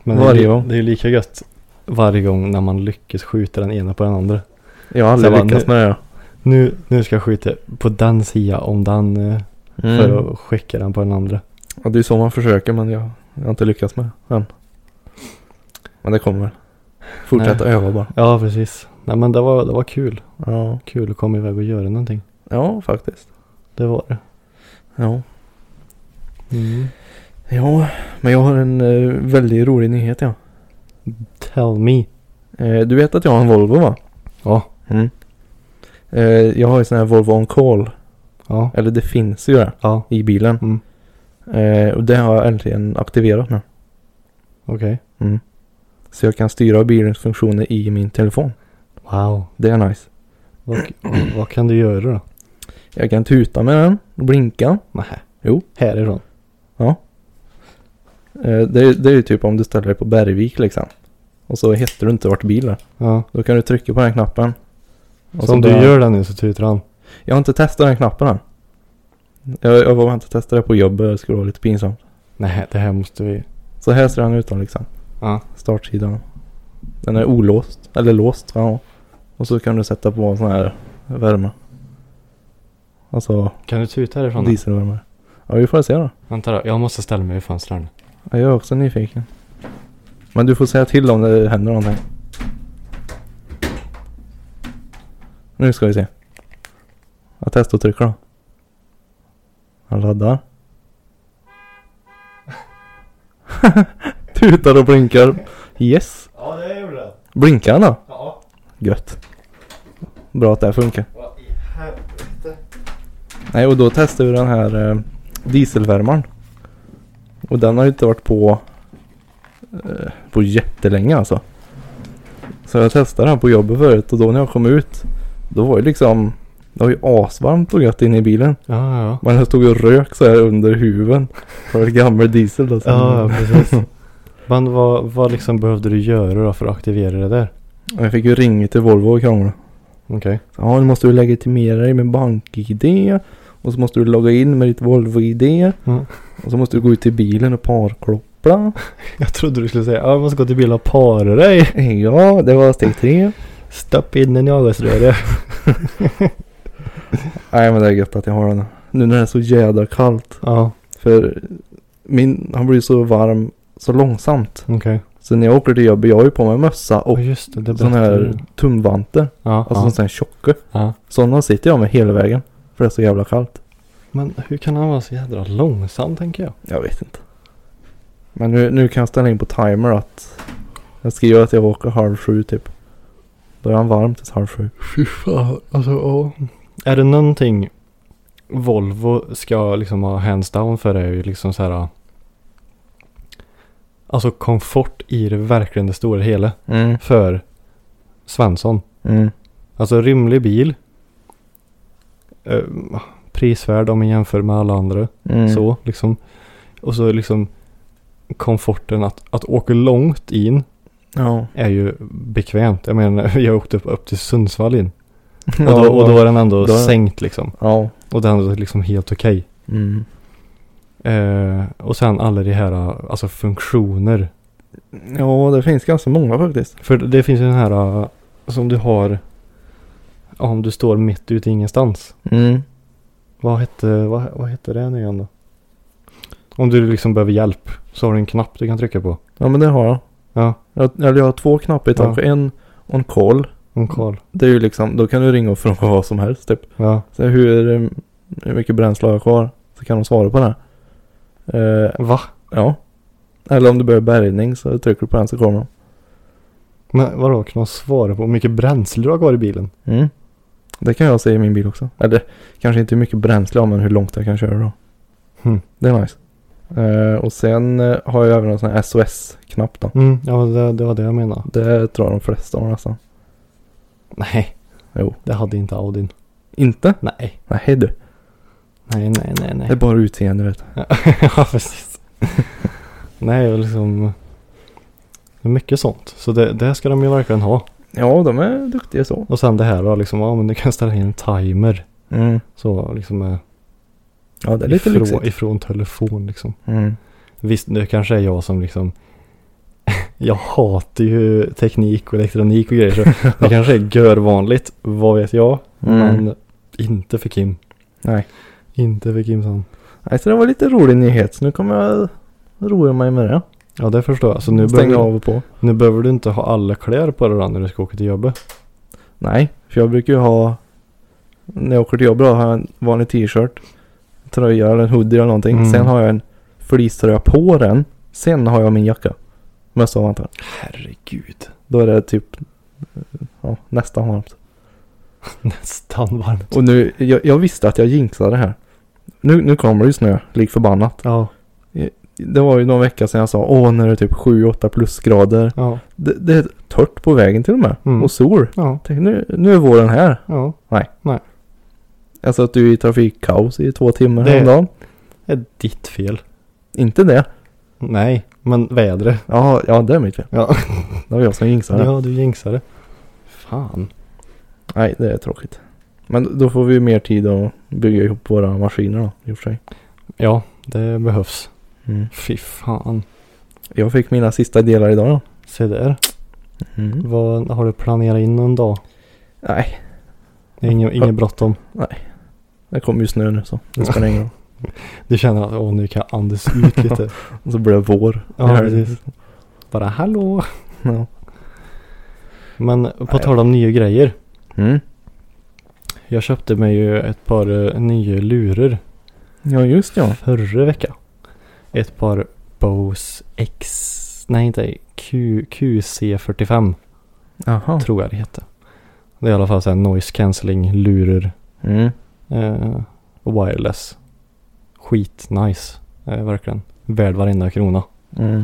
Speaker 2: Men
Speaker 3: Varje
Speaker 2: det, är,
Speaker 3: gång.
Speaker 2: ju- det är ju lika gött varje gång när man lyckas skjuta den ena på den andra.
Speaker 3: Jag har aldrig
Speaker 2: Så jag bara,
Speaker 3: lyckats med det.
Speaker 2: Nu, nu ska jag skjuta på den sidan om den eh,
Speaker 3: Mm.
Speaker 2: för att skicka den på den andra.
Speaker 3: Ja, det är så man försöker men jag, jag har inte lyckats med det än. Men det kommer. Fortsätta
Speaker 2: Nej.
Speaker 3: öva bara.
Speaker 2: Ja, precis. Nej, men det var, det var kul.
Speaker 3: Ja,
Speaker 2: Kul att komma iväg och göra någonting.
Speaker 3: ja faktiskt.
Speaker 2: Det var det.
Speaker 3: Ja. Mm. ja, men jag har en eh, väldigt rolig nyhet ja.
Speaker 2: Tell me.
Speaker 3: Eh, du vet att jag har en Volvo va?
Speaker 2: Ja.
Speaker 3: Mm. Eh, jag har ju sån här Volvo On Call.
Speaker 2: Ja.
Speaker 3: Eller det finns ju det
Speaker 2: Ja.
Speaker 3: i bilen.
Speaker 2: Mm.
Speaker 3: Eh, och det har jag äntligen aktiverat nu. Mm.
Speaker 2: Okej.
Speaker 3: Så jag kan styra bilens funktioner i min telefon.
Speaker 2: Wow.
Speaker 3: Det är nice.
Speaker 2: Vad, vad kan du göra då?
Speaker 3: Jag kan tuta med den, blinka.
Speaker 2: Nej.
Speaker 3: Jo.
Speaker 2: Härifrån.
Speaker 3: Eh, Det är, det är ju typ om du ställer dig på Bergvik liksom. Och så hittar du inte vart bilen
Speaker 2: Ja.
Speaker 3: Då kan du trycka på den knappen. Och
Speaker 2: Så om du
Speaker 3: börjar-
Speaker 2: gör det nu så tutar han.
Speaker 3: Jag har inte testat den knappen än. Jag, jag vågar inte testa det på jobbet. Det skulle vara lite pinsamt.
Speaker 2: Nej, det här måste vi.
Speaker 3: Så här ser den ut då liksom.
Speaker 2: Ja.
Speaker 3: Startsidan. Den är olåst. Eller låst. Ja. Och så kan du sätta på en sån här värme. Alltså
Speaker 2: Kan du tuta härifrån? då?
Speaker 3: dieselvärme. Ja vi får se då.
Speaker 2: Vänta då. Jag måste ställa mig i fönstren.
Speaker 3: Ja, Jag är också nyfiken. Men du får säga till om det händer någonting. Nu ska vi se. Jag testar och trycker då. Han laddar. [laughs] Tutar och blinkar. Yes.
Speaker 2: Ja, det gjorde det.
Speaker 3: Blinkar han då?
Speaker 2: Ja.
Speaker 3: Gött. Bra att det här funkar.
Speaker 2: Vad i helvete.
Speaker 3: Nej och då testade vi den här eh, dieselvärmaren. Och den har ju inte varit på eh, på jättelänge alltså. Så jag testade den på jobbet förut och då när jag kom ut. Då var ju liksom. Det var ju asvarmt och gött inne i bilen.
Speaker 2: Ja, ja.
Speaker 3: Men jag stod och rök så här under huven. Det var gammal diesel alltså. Mm. då. som-
Speaker 2: Ja, ja precis. Mm. [laughs] Men vad, vad liksom behövde du göra då för att aktivera det där?
Speaker 3: Och Jag fick ju ringa till Volvo och krångla.
Speaker 2: Okej.
Speaker 3: Ja, nu måste du legitimera dig med BankID. Och så måste du logga in med ditt Volvo-ID.
Speaker 2: Mm.
Speaker 3: Och så måste du gå ut till bilen och parkoppla.
Speaker 2: Jag trodde du skulle säga jag måste gå till bilen och para dig.
Speaker 3: Ja, det var steg tre.
Speaker 2: Stopp in en avgasröra.
Speaker 3: Nej, men det är gött att jag har den. Nu när det är så jädra kallt.
Speaker 2: ja,
Speaker 3: För min, han blir så varm så långsamt.
Speaker 2: okej.
Speaker 3: Så när jag åker till jobbet, jag har ju på mig mössa och
Speaker 2: Ja, just det, det
Speaker 3: sån
Speaker 2: berättade
Speaker 3: här
Speaker 2: du.
Speaker 3: tumvanter.
Speaker 2: Ja,
Speaker 3: Alltså
Speaker 2: ja,
Speaker 3: sån här tjocka.
Speaker 2: ja.
Speaker 3: Sådana sitter jag med hela vägen. För det är så jävla kallt.
Speaker 2: Men hur kan han vara så jädra långsam tänker jag?
Speaker 3: Jag vet inte. Men nu, nu kan jag ställa in på timer att jag skriver att jag åker halv sju typ. Då är han varm tills halv sju.
Speaker 2: Fy fan, alltså ja. Är det någonting Volvo ska liksom ha hands down för är ju liksom så här. Alltså komfort i det verkligen det stora hela
Speaker 3: Mm.
Speaker 2: för Svensson.
Speaker 3: Mm.
Speaker 2: Alltså rimlig bil. Eh, prisvärd om man jämför med alla andra.
Speaker 3: Mm.
Speaker 2: Så liksom. Och så liksom komforten att, att åka långt in
Speaker 3: [laughs] Ja.
Speaker 2: är ju bekvämt. Jag menar [laughs] jag åkte upp, upp till Sundsvall in. Och då, och då är den ändå
Speaker 3: då-
Speaker 2: sänkt liksom.
Speaker 3: Ja.
Speaker 2: Och den är liksom helt okej.
Speaker 3: Mm.
Speaker 2: Eh, och sen alla de här alltså funktioner.
Speaker 3: Ja, det finns ganska många faktiskt.
Speaker 2: För det finns ju den här eh, som du har om du står mitt ute i ingenstans.
Speaker 3: Mm.
Speaker 2: Vad hette, vad, vad hette det nu igen då? Om du liksom behöver hjälp så har du en knapp du kan trycka på.
Speaker 3: Ja, men det har jag.
Speaker 2: Ja,
Speaker 3: jag eller jag har två knappar i taket. En on call.
Speaker 2: en koll.
Speaker 3: Det är ju liksom, då kan du ringa och fråga [laughs] vad som helst typ.
Speaker 2: Ja.
Speaker 3: Så hur, eh, hur mycket bränsle har jag kvar? Så kan de svara på det. Eh,
Speaker 2: Va?
Speaker 3: ja. Eller om du behöver bärgning så trycker du på den så kommer de.
Speaker 2: Men vadå, kan man svara på hur mycket bränsle du har kvar i bilen?
Speaker 3: Mm. Det kan jag se i min bil också. Eller kanske inte hur mycket bränsle jag har men hur långt jag kan köra då.
Speaker 2: Hmm.
Speaker 3: Det är nice. Eh, och sen eh, har jag även en sån här SOS-knapp då.
Speaker 2: Mm, ja det, det var det jag menade.
Speaker 3: Det tror jag de flesta har nästan.
Speaker 2: Nej.
Speaker 3: Jo.
Speaker 2: Det hade inte Audin.
Speaker 3: Inte?
Speaker 2: Nej.
Speaker 3: Nej du.
Speaker 2: Nej, nej, nej, nej. [laughs]
Speaker 3: Det är bara utseende vet du.
Speaker 2: ja, precis. Nej, och liksom. Det är mycket sånt. Så det, det ska de ju verkligen ha.
Speaker 3: Ja, de är duktiga så.
Speaker 2: Och sen det här då liksom, ja men du kan ställa in en timer.
Speaker 3: Mm.
Speaker 2: Så liksom eh,
Speaker 3: Ja, det är lite
Speaker 2: ifrån,
Speaker 3: lyxigt.
Speaker 2: ifrån telefon liksom.
Speaker 3: [laughs] Mm.
Speaker 2: Visst, det kanske är jag som liksom [laughs] Jag hatar ju teknik och elektronik och grejer
Speaker 3: [laughs]
Speaker 2: så det kanske är görvanligt, vad vet jag.
Speaker 3: Mm.
Speaker 2: Men inte för Kim.
Speaker 3: Nej.
Speaker 2: Inte för Kimson.
Speaker 3: Nej, så det var lite rolig nyhet. Så nu kommer jag roa mig med det.
Speaker 2: Ja det förstår jag. Så nu
Speaker 3: Stänga
Speaker 2: behöver,
Speaker 3: av och på.
Speaker 2: nu behöver du inte ha alla kläder på dig då när du ska åka till jobbet.
Speaker 3: Nej, för jag brukar ju ha... När jag åker till jobbet då har jag en vanlig t-shirt. Tröja eller en hoodie eller någonting.
Speaker 2: Mm.
Speaker 3: Sen har jag en fleecetröja på den. Sen har jag min jacka. Mössa och vantar.
Speaker 2: Herregud. [laughs]
Speaker 3: Då är det typ... Ja, nästan varmt.
Speaker 2: Nästan varmt.
Speaker 3: Och nu, jag, jag visste att jag jinxade det här. Nu, nu kommer det ju snö, lik förbannat.
Speaker 2: Ja.
Speaker 3: Det var ju någon vecka sedan jag sa åh när det är typ 7-8 plusgrader.
Speaker 2: Ja.
Speaker 3: Det, det är torrt på vägen till och med.
Speaker 2: Mm.
Speaker 3: Och sol.
Speaker 2: Ja.
Speaker 3: Tänk, nu, nu är våren här.
Speaker 2: Ja.
Speaker 3: Alltså att du är i trafikkaos i två timmar
Speaker 2: Det-
Speaker 3: om dagen.
Speaker 2: Det är ditt fel.
Speaker 3: Inte det.
Speaker 2: Nej, men vädret.
Speaker 3: Ja, ja det är mitt fel.
Speaker 2: [laughs] Ja.
Speaker 3: Det var jag som jinxade.
Speaker 2: ja, du jinxade. Fan.
Speaker 3: Nej, det är tråkigt. Men då får vi ju mer tid att bygga ihop våra maskiner då, i och för sig.
Speaker 2: Ja, det behövs.
Speaker 3: Mm.
Speaker 2: Fy fan.
Speaker 3: Jag fick mina sista delar idag då.
Speaker 2: Se där. Vad har du planerat in någon dag?
Speaker 3: Nej,
Speaker 2: Det är [laughs] inget, inget bråttom.
Speaker 3: det kommer ju snö nu så det spelar ingen roll.
Speaker 2: Du känner att åh, nu kan jag andas ut lite. [laughs]
Speaker 3: Och så blir det vår.
Speaker 2: Ja,
Speaker 3: Det här-
Speaker 2: precis. Bara hallå.
Speaker 3: Ja.
Speaker 2: Men på tal om nya grejer.
Speaker 3: Mm.
Speaker 2: Jag köpte mig ju ett par eh, nya lurer
Speaker 3: ja, just ja.
Speaker 2: förra veckan. Ett par Bose X... Nej, inte Q, QC45
Speaker 3: Aha.
Speaker 2: tror jag det heter. Det är i alla fall så här noise cancelling lurer.
Speaker 3: Mm.
Speaker 2: Eh, och wireless. Skitnice. Eh, verkligen. Värd varenda krona.
Speaker 3: Mm.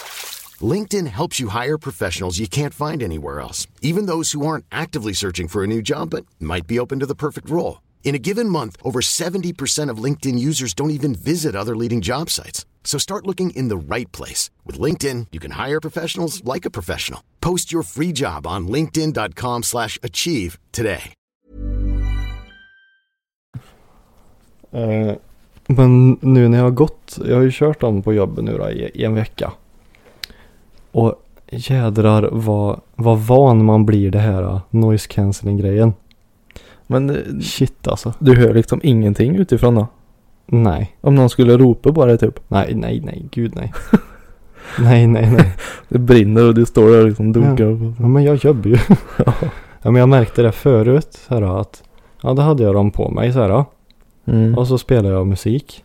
Speaker 4: LinkedIn helps you hire professionals you can't find anywhere else, even those who aren't actively searching for a new job but might be open to the perfect role. In a given month, over 70% of LinkedIn users don't even visit other leading job sites. So start looking in the right place. With LinkedIn, you can hire professionals like a professional. Post your free job on linkedin.com/achieve slash achieve today.
Speaker 2: Eh, men nu när jag har gått. Jag har ju kört dem på jobbet nu då i, i en vecka. Och jädrar vad, vad van man blir det här eh, noise cancelling grejen.
Speaker 3: Men eh,
Speaker 2: Shit alltså.
Speaker 3: du hör liksom ingenting utifrån då?
Speaker 2: Nej.
Speaker 3: Om någon skulle ropa på dig typ.
Speaker 2: Nej, nej, nej. Gud nej. nej, nej, nej.
Speaker 3: Det brinner och du står där och liksom dunkar. och-
Speaker 2: Ja, men jag jobbar
Speaker 3: [laughs]
Speaker 2: ju. ja, men jag märkte det förut. Så här, att, ja, då hade jag dem på mig så här. ja.
Speaker 3: Mm.
Speaker 2: Och så spelade jag musik.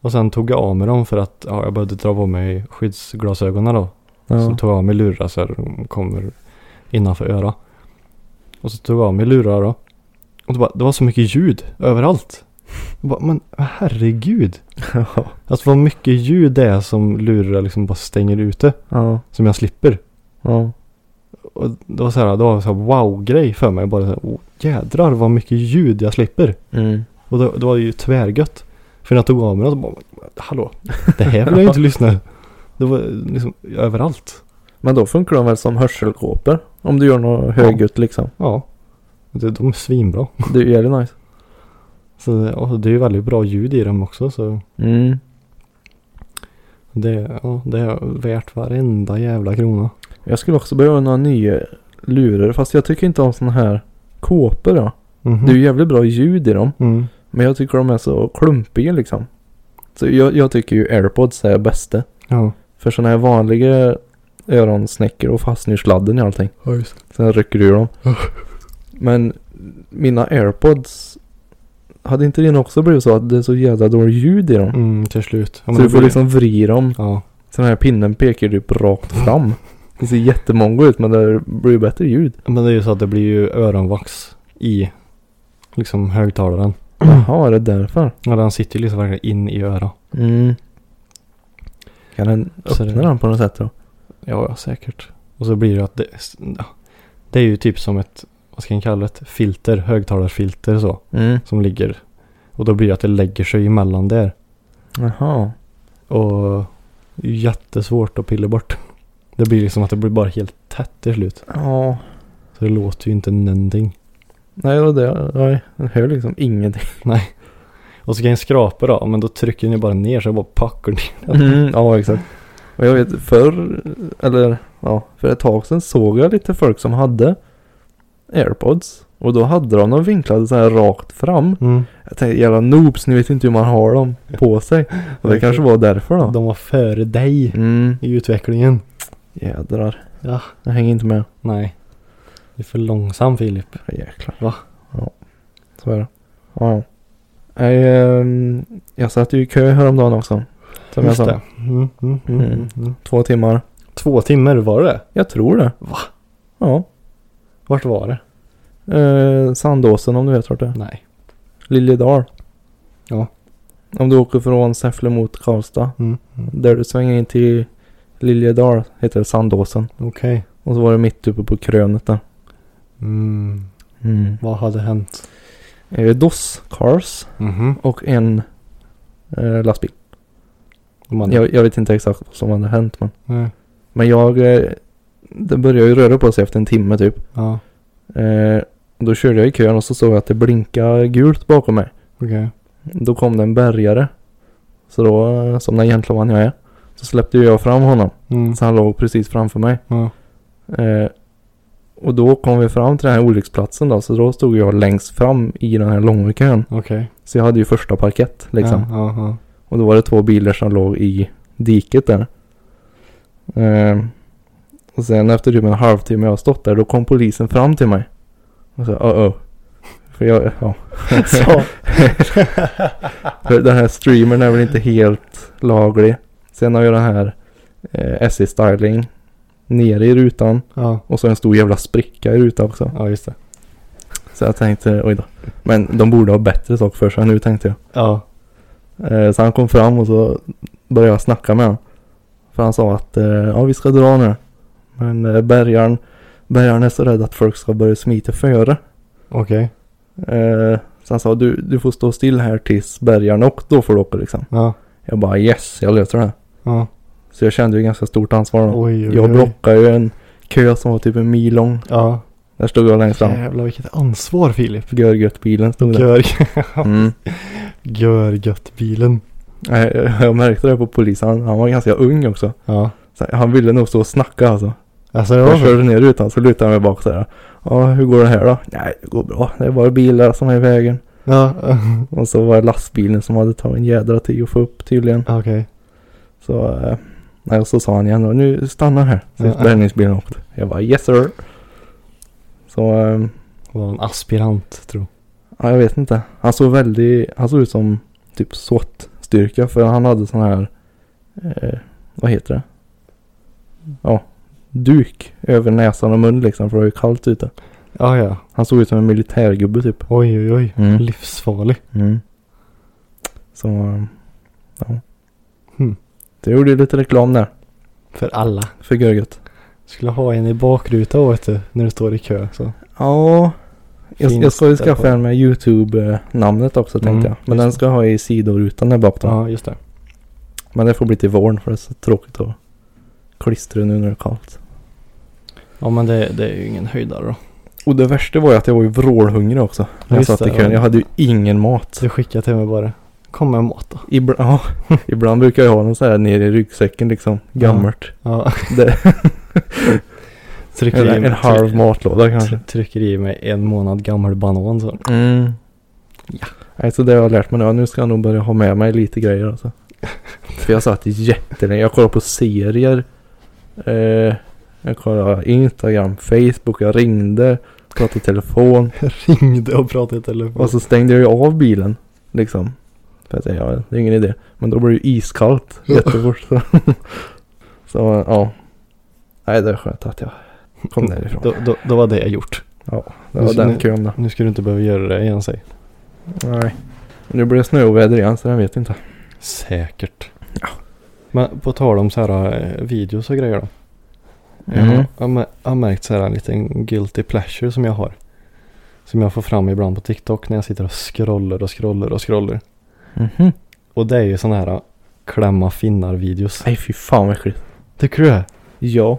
Speaker 2: Och sen tog jag av mig dem för att ja, jag behövde dra på mig skyddsglasögonen då. Så
Speaker 3: Ja.
Speaker 2: tog jag av mig lurar så här, de kommer innanför öra. Och så tog jag av mig lurar då. Och det, bara, det var så mycket ljud överallt. Jag bara, men herregud.
Speaker 3: [laughs] Ja.
Speaker 2: Alltså vad mycket ljud det är som lurar liksom bara stänger ute.
Speaker 3: Ja.
Speaker 2: Som jag slipper.
Speaker 3: Ja.
Speaker 2: Och det var så här, det var så här wow-grej för mig. Bara så här, oh, jädrar vad mycket ljud jag slipper.
Speaker 3: Mm.
Speaker 2: Och det, det var ju tvärgött. För när jag tog av mig den så bara, hallå, det här vill jag ju inte lyssna. Det var liksom överallt.
Speaker 3: Men då funkar de väl som hörselkåpor? Om du gör något högljutt liksom.
Speaker 2: Ja, det, de är svinbra.
Speaker 3: Det är jävligt nice.
Speaker 2: Så, det- och det är ju väldigt bra ljud i dem också. Så
Speaker 3: Mm.
Speaker 2: det, ja, det är värt varenda jävla krona.
Speaker 3: Jag skulle också behöva några nya lurar. Fast jag tycker inte om sådana här kåpor då.
Speaker 2: Mhm.
Speaker 3: Det är ju jävligt bra ljud i dem.
Speaker 2: Mm.
Speaker 3: Men jag tycker de är så klumpiga liksom. Så jag, jag tycker ju airpods är bästa.
Speaker 2: Ja.
Speaker 3: För sådana här vanliga öronsnäckor och fastnar ju sladden i allting.
Speaker 2: Ja, just
Speaker 3: Sen rycker du ur
Speaker 2: [laughs]
Speaker 3: dem. Men mina airpods. Hade inte det också blivit så att det är så jävla dåligt ljud i dem?
Speaker 2: mm, till slut. Ja, men
Speaker 3: så
Speaker 2: det
Speaker 3: du får
Speaker 2: blir-
Speaker 3: liksom vrida dem.
Speaker 2: Ja.
Speaker 3: Så den här pinnen pekar ju typ rakt fram. Det ser jättemongo ut men det blir ju bättre ljud.
Speaker 2: Men det är ju så att det blir ju öronvax i liksom högtalaren.
Speaker 3: Jaha, är det därför?
Speaker 2: Ja, den sitter ju liksom verkligen in i örat.
Speaker 3: Mm. Kan den
Speaker 2: Så
Speaker 3: öppna
Speaker 2: det-
Speaker 3: den på något sätt då?
Speaker 2: Ja, ja, säkert. Och så blir det att det, ja, det är ju typ som ett, vad ska jag kalla det, ett filter, högtalarfilter så,
Speaker 3: Mm.
Speaker 2: som ligger. Och då blir det att det lägger sig emellan där.
Speaker 3: Jaha.
Speaker 2: Och det är jättesvårt att pilla bort. Det blir liksom att det blir bara helt tätt till slut.
Speaker 3: Ja.
Speaker 2: Så det låter ju inte någonting.
Speaker 3: Nej, det var det. Nej, den hör liksom ingenting.
Speaker 2: Och så kan jag skrapa då, men då trycker ni bara ner så jag bara packar ner. [laughs]
Speaker 3: Mm, ja, exakt. Och jag vet förr, eller ja, för ett tag sedan såg jag lite folk som hade airpods. Och då hade de dem vinklade så här rakt fram.
Speaker 2: Mm.
Speaker 3: Jag tänkte jävla noobs, ni vet inte hur man har dem på sig. Och det kanske var därför då.
Speaker 2: De var före dig
Speaker 3: Mm,
Speaker 2: i utvecklingen.
Speaker 3: jädrar.
Speaker 2: Ja.
Speaker 3: Jag hänger inte med.
Speaker 2: Nej. Du är för långsam Filip.
Speaker 3: Ja, Jäklar.
Speaker 2: Va?
Speaker 3: Ja. Så är det. Ja, ja. Nej, ehm, jag satt ju i kö häromdagen också. Som jag
Speaker 2: Just
Speaker 3: sa.
Speaker 2: det. Mm, mm, mm,
Speaker 3: Mm.
Speaker 2: mm. Mm.
Speaker 3: Två timmar.
Speaker 2: Två timmar var det.
Speaker 3: Jag tror det. Va? Ja.
Speaker 2: Vart var det?
Speaker 3: Eh, Sandåsen om du vet vart det är.
Speaker 2: Nej.
Speaker 3: Liljedal.
Speaker 2: Ja.
Speaker 3: Om du åker från Säffle mot Karlstad.
Speaker 2: Mm. Mm.
Speaker 3: Där du svänger in till Liljedal heter det Sandåsen.
Speaker 2: Okej.
Speaker 3: Och så var det mitt uppe på krönet där.
Speaker 2: Mm.
Speaker 3: Mm.
Speaker 2: Vad hade hänt?
Speaker 3: Eh, Dos cars
Speaker 2: Mhm.
Speaker 3: och en eh, lastbil.
Speaker 2: De hade...
Speaker 3: Jag, jag vet inte exakt vad som hade hänt men.
Speaker 2: Nej.
Speaker 3: Men jag. Eh, det började ju röra på sig efter en timme typ.
Speaker 2: Ja.
Speaker 3: Eh, då körde jag i kön och så såg jag att det blinkade gult bakom mig.
Speaker 2: Okej.
Speaker 3: Då kom det en bärgare. Så då, eh, som den gentleman jag är, så släppte ju jag fram honom.
Speaker 2: Mm.
Speaker 3: Så han låg precis framför mig.
Speaker 2: Ja.
Speaker 3: Eh, och då kom vi fram till den här olycksplatsen då. Så då stod jag längst fram i den här långa kön.
Speaker 2: Okej.
Speaker 3: Så jag hade ju första parkett liksom.
Speaker 2: Ja, ja, ja.
Speaker 3: Och då var det två bilar som låg i diket där. Eh, och sen efter typ en halvtimme jag har stått där, då kom polisen fram till mig. Och sa oh oh. För jag, ja.
Speaker 2: Så.
Speaker 3: [laughs] För den här streamern är väl inte helt laglig. Sen har jag den här eh, SE styling nere i rutan.
Speaker 2: Ja.
Speaker 3: Och så en stor jävla spricka i rutan också.
Speaker 2: Ja, just det.
Speaker 3: Så jag tänkte, oj då. Men de borde ha bättre saker för sig nu tänkte jag.
Speaker 2: Ja.
Speaker 3: Eh, så han kom fram och så började jag snacka med honom. För han sa att eh, ja vi ska dra nu. Men eh, bärgaren, bärgaren är så rädd att folk ska börja smita före.
Speaker 2: Okej.
Speaker 3: Eh, så han sa du, du får stå still här tills bärgaren och då får du åka liksom.
Speaker 2: Ja.
Speaker 3: Jag bara yes, jag löser det. här."
Speaker 2: Ja.
Speaker 3: Så jag kände ju ganska stort ansvar då.
Speaker 2: Oj, oj,
Speaker 3: jag
Speaker 2: oj.
Speaker 3: blockade ju en kö som var typ en mil lång.
Speaker 2: Ja.
Speaker 3: Där stod jag längst fram.
Speaker 2: Jävlar vilket ansvar Filip.
Speaker 3: Görgött-bilen stod där.
Speaker 2: Gör, [laughs]
Speaker 3: Mm.
Speaker 2: gör gött bilen.
Speaker 3: Eh, Jag märkte det på polisen. Han, han var ganska ung också.
Speaker 2: Ja.
Speaker 3: Så han ville nog stå och snacka alltså.
Speaker 2: Alltså
Speaker 3: Jag
Speaker 2: jag,
Speaker 3: körde ner utan så lutade jag mig bak så här. Ja, hur går det här då? Nej, det går bra. Det är bara bilar som är i vägen.
Speaker 2: ja. [laughs]
Speaker 3: Och så var det lastbilen som hade tagit en jädra tid att få upp tydligen.
Speaker 2: Okej.
Speaker 3: Så, eh, nej, och så sa han igen då, nu stanna här. Så
Speaker 2: Ja.
Speaker 3: bärgningsbilen åkte. Jag bara yes sir. Så, eh,
Speaker 2: Var en aspirant tror
Speaker 3: ja, jag vet inte. Han såg väldigt, han såg ut som typ SWAT-styrka för han hade sån här, eh, vad heter det? Ja, duk över näsan och mun liksom för det var ju kallt ute.
Speaker 2: Ja, ja.
Speaker 3: Han såg ut som en militärgubbe typ.
Speaker 2: Oj, oj, oj.
Speaker 3: Mm.
Speaker 2: Livsfarlig.
Speaker 3: Så, um, ja.
Speaker 2: Hmm.
Speaker 3: Det gjorde ju lite reklam där.
Speaker 2: För alla.
Speaker 3: För Görget.
Speaker 2: Skulle ha en i bakruta vet du, när du står i kö. Så.
Speaker 3: Ja. Jag, jag
Speaker 2: Finns
Speaker 3: ska ju
Speaker 2: det
Speaker 3: skaffa
Speaker 2: på-
Speaker 3: en med YouTube-namnet också
Speaker 2: Mm,
Speaker 3: tänkte jag. Men
Speaker 2: just
Speaker 3: den
Speaker 2: det.
Speaker 3: ska jag ha i sidorutan där bak då.
Speaker 2: Ja, just det.
Speaker 3: Men det får bli till våren för det är så tråkigt att klistra nu när det är kallt.
Speaker 2: Ja, men det, det är ju ingen höjdare då.
Speaker 3: Och det värsta var ju att jag var ju vrålhungrig också. När jag
Speaker 2: Just
Speaker 3: satt i
Speaker 2: det,
Speaker 3: kön.
Speaker 2: ja.
Speaker 3: Jag hade ju ingen mat.
Speaker 2: Så skicka till mig bara. Kom med mat då.
Speaker 3: Ibland, [laughs] ja, ibland brukar jag ha den så här nere i ryggsäcken liksom.
Speaker 2: Ja.
Speaker 3: Gammalt.
Speaker 2: [laughs] Ja.
Speaker 3: Det,
Speaker 2: Trycker i
Speaker 3: en, en halv matlåda kanske.
Speaker 2: try- Trycker i mig en månad gammal banan så.
Speaker 3: Mm. Ja. Så det har jag lärt mig nu. Ja, Nu ska jag nog börja ha med mig lite grejer alltså. För jag satt jättelänge. Jag kollade på serier. Eh, jag kollade Instagram, Facebook. Jag ringde. Pratade i telefon.
Speaker 2: [laughs] Ringde och pratade i telefon.
Speaker 3: Och så stängde jag ju av bilen. Liksom. För att ja, det är ingen [laughs] idé. Men då blir det ju iskallt jättefort. Så, så ja. Nej, Nej, det är skönt att jag kom därifrån.
Speaker 2: Mm. Då, då, då var det gjort.
Speaker 3: Det var
Speaker 2: nu-
Speaker 3: den kön då.
Speaker 2: Nu ska du inte behöva göra det igen säg.
Speaker 3: Nej. Nu blir det snöoväder igen så jag vet inte.
Speaker 2: Säkert. Men på tal om så här eh, videos och grejer då.
Speaker 3: Mhm.
Speaker 2: Jag har mä- har märkt så här en liten guilty pleasure som jag har. Som jag får fram ibland på TikTok när jag sitter och scrollar och scrollar och scrollar.
Speaker 3: Mhm.
Speaker 2: Och det är ju sådana här eh, klämma finnar videos.
Speaker 3: Nej fy fan vad äckligt.
Speaker 2: Tycker du det?
Speaker 3: Ja.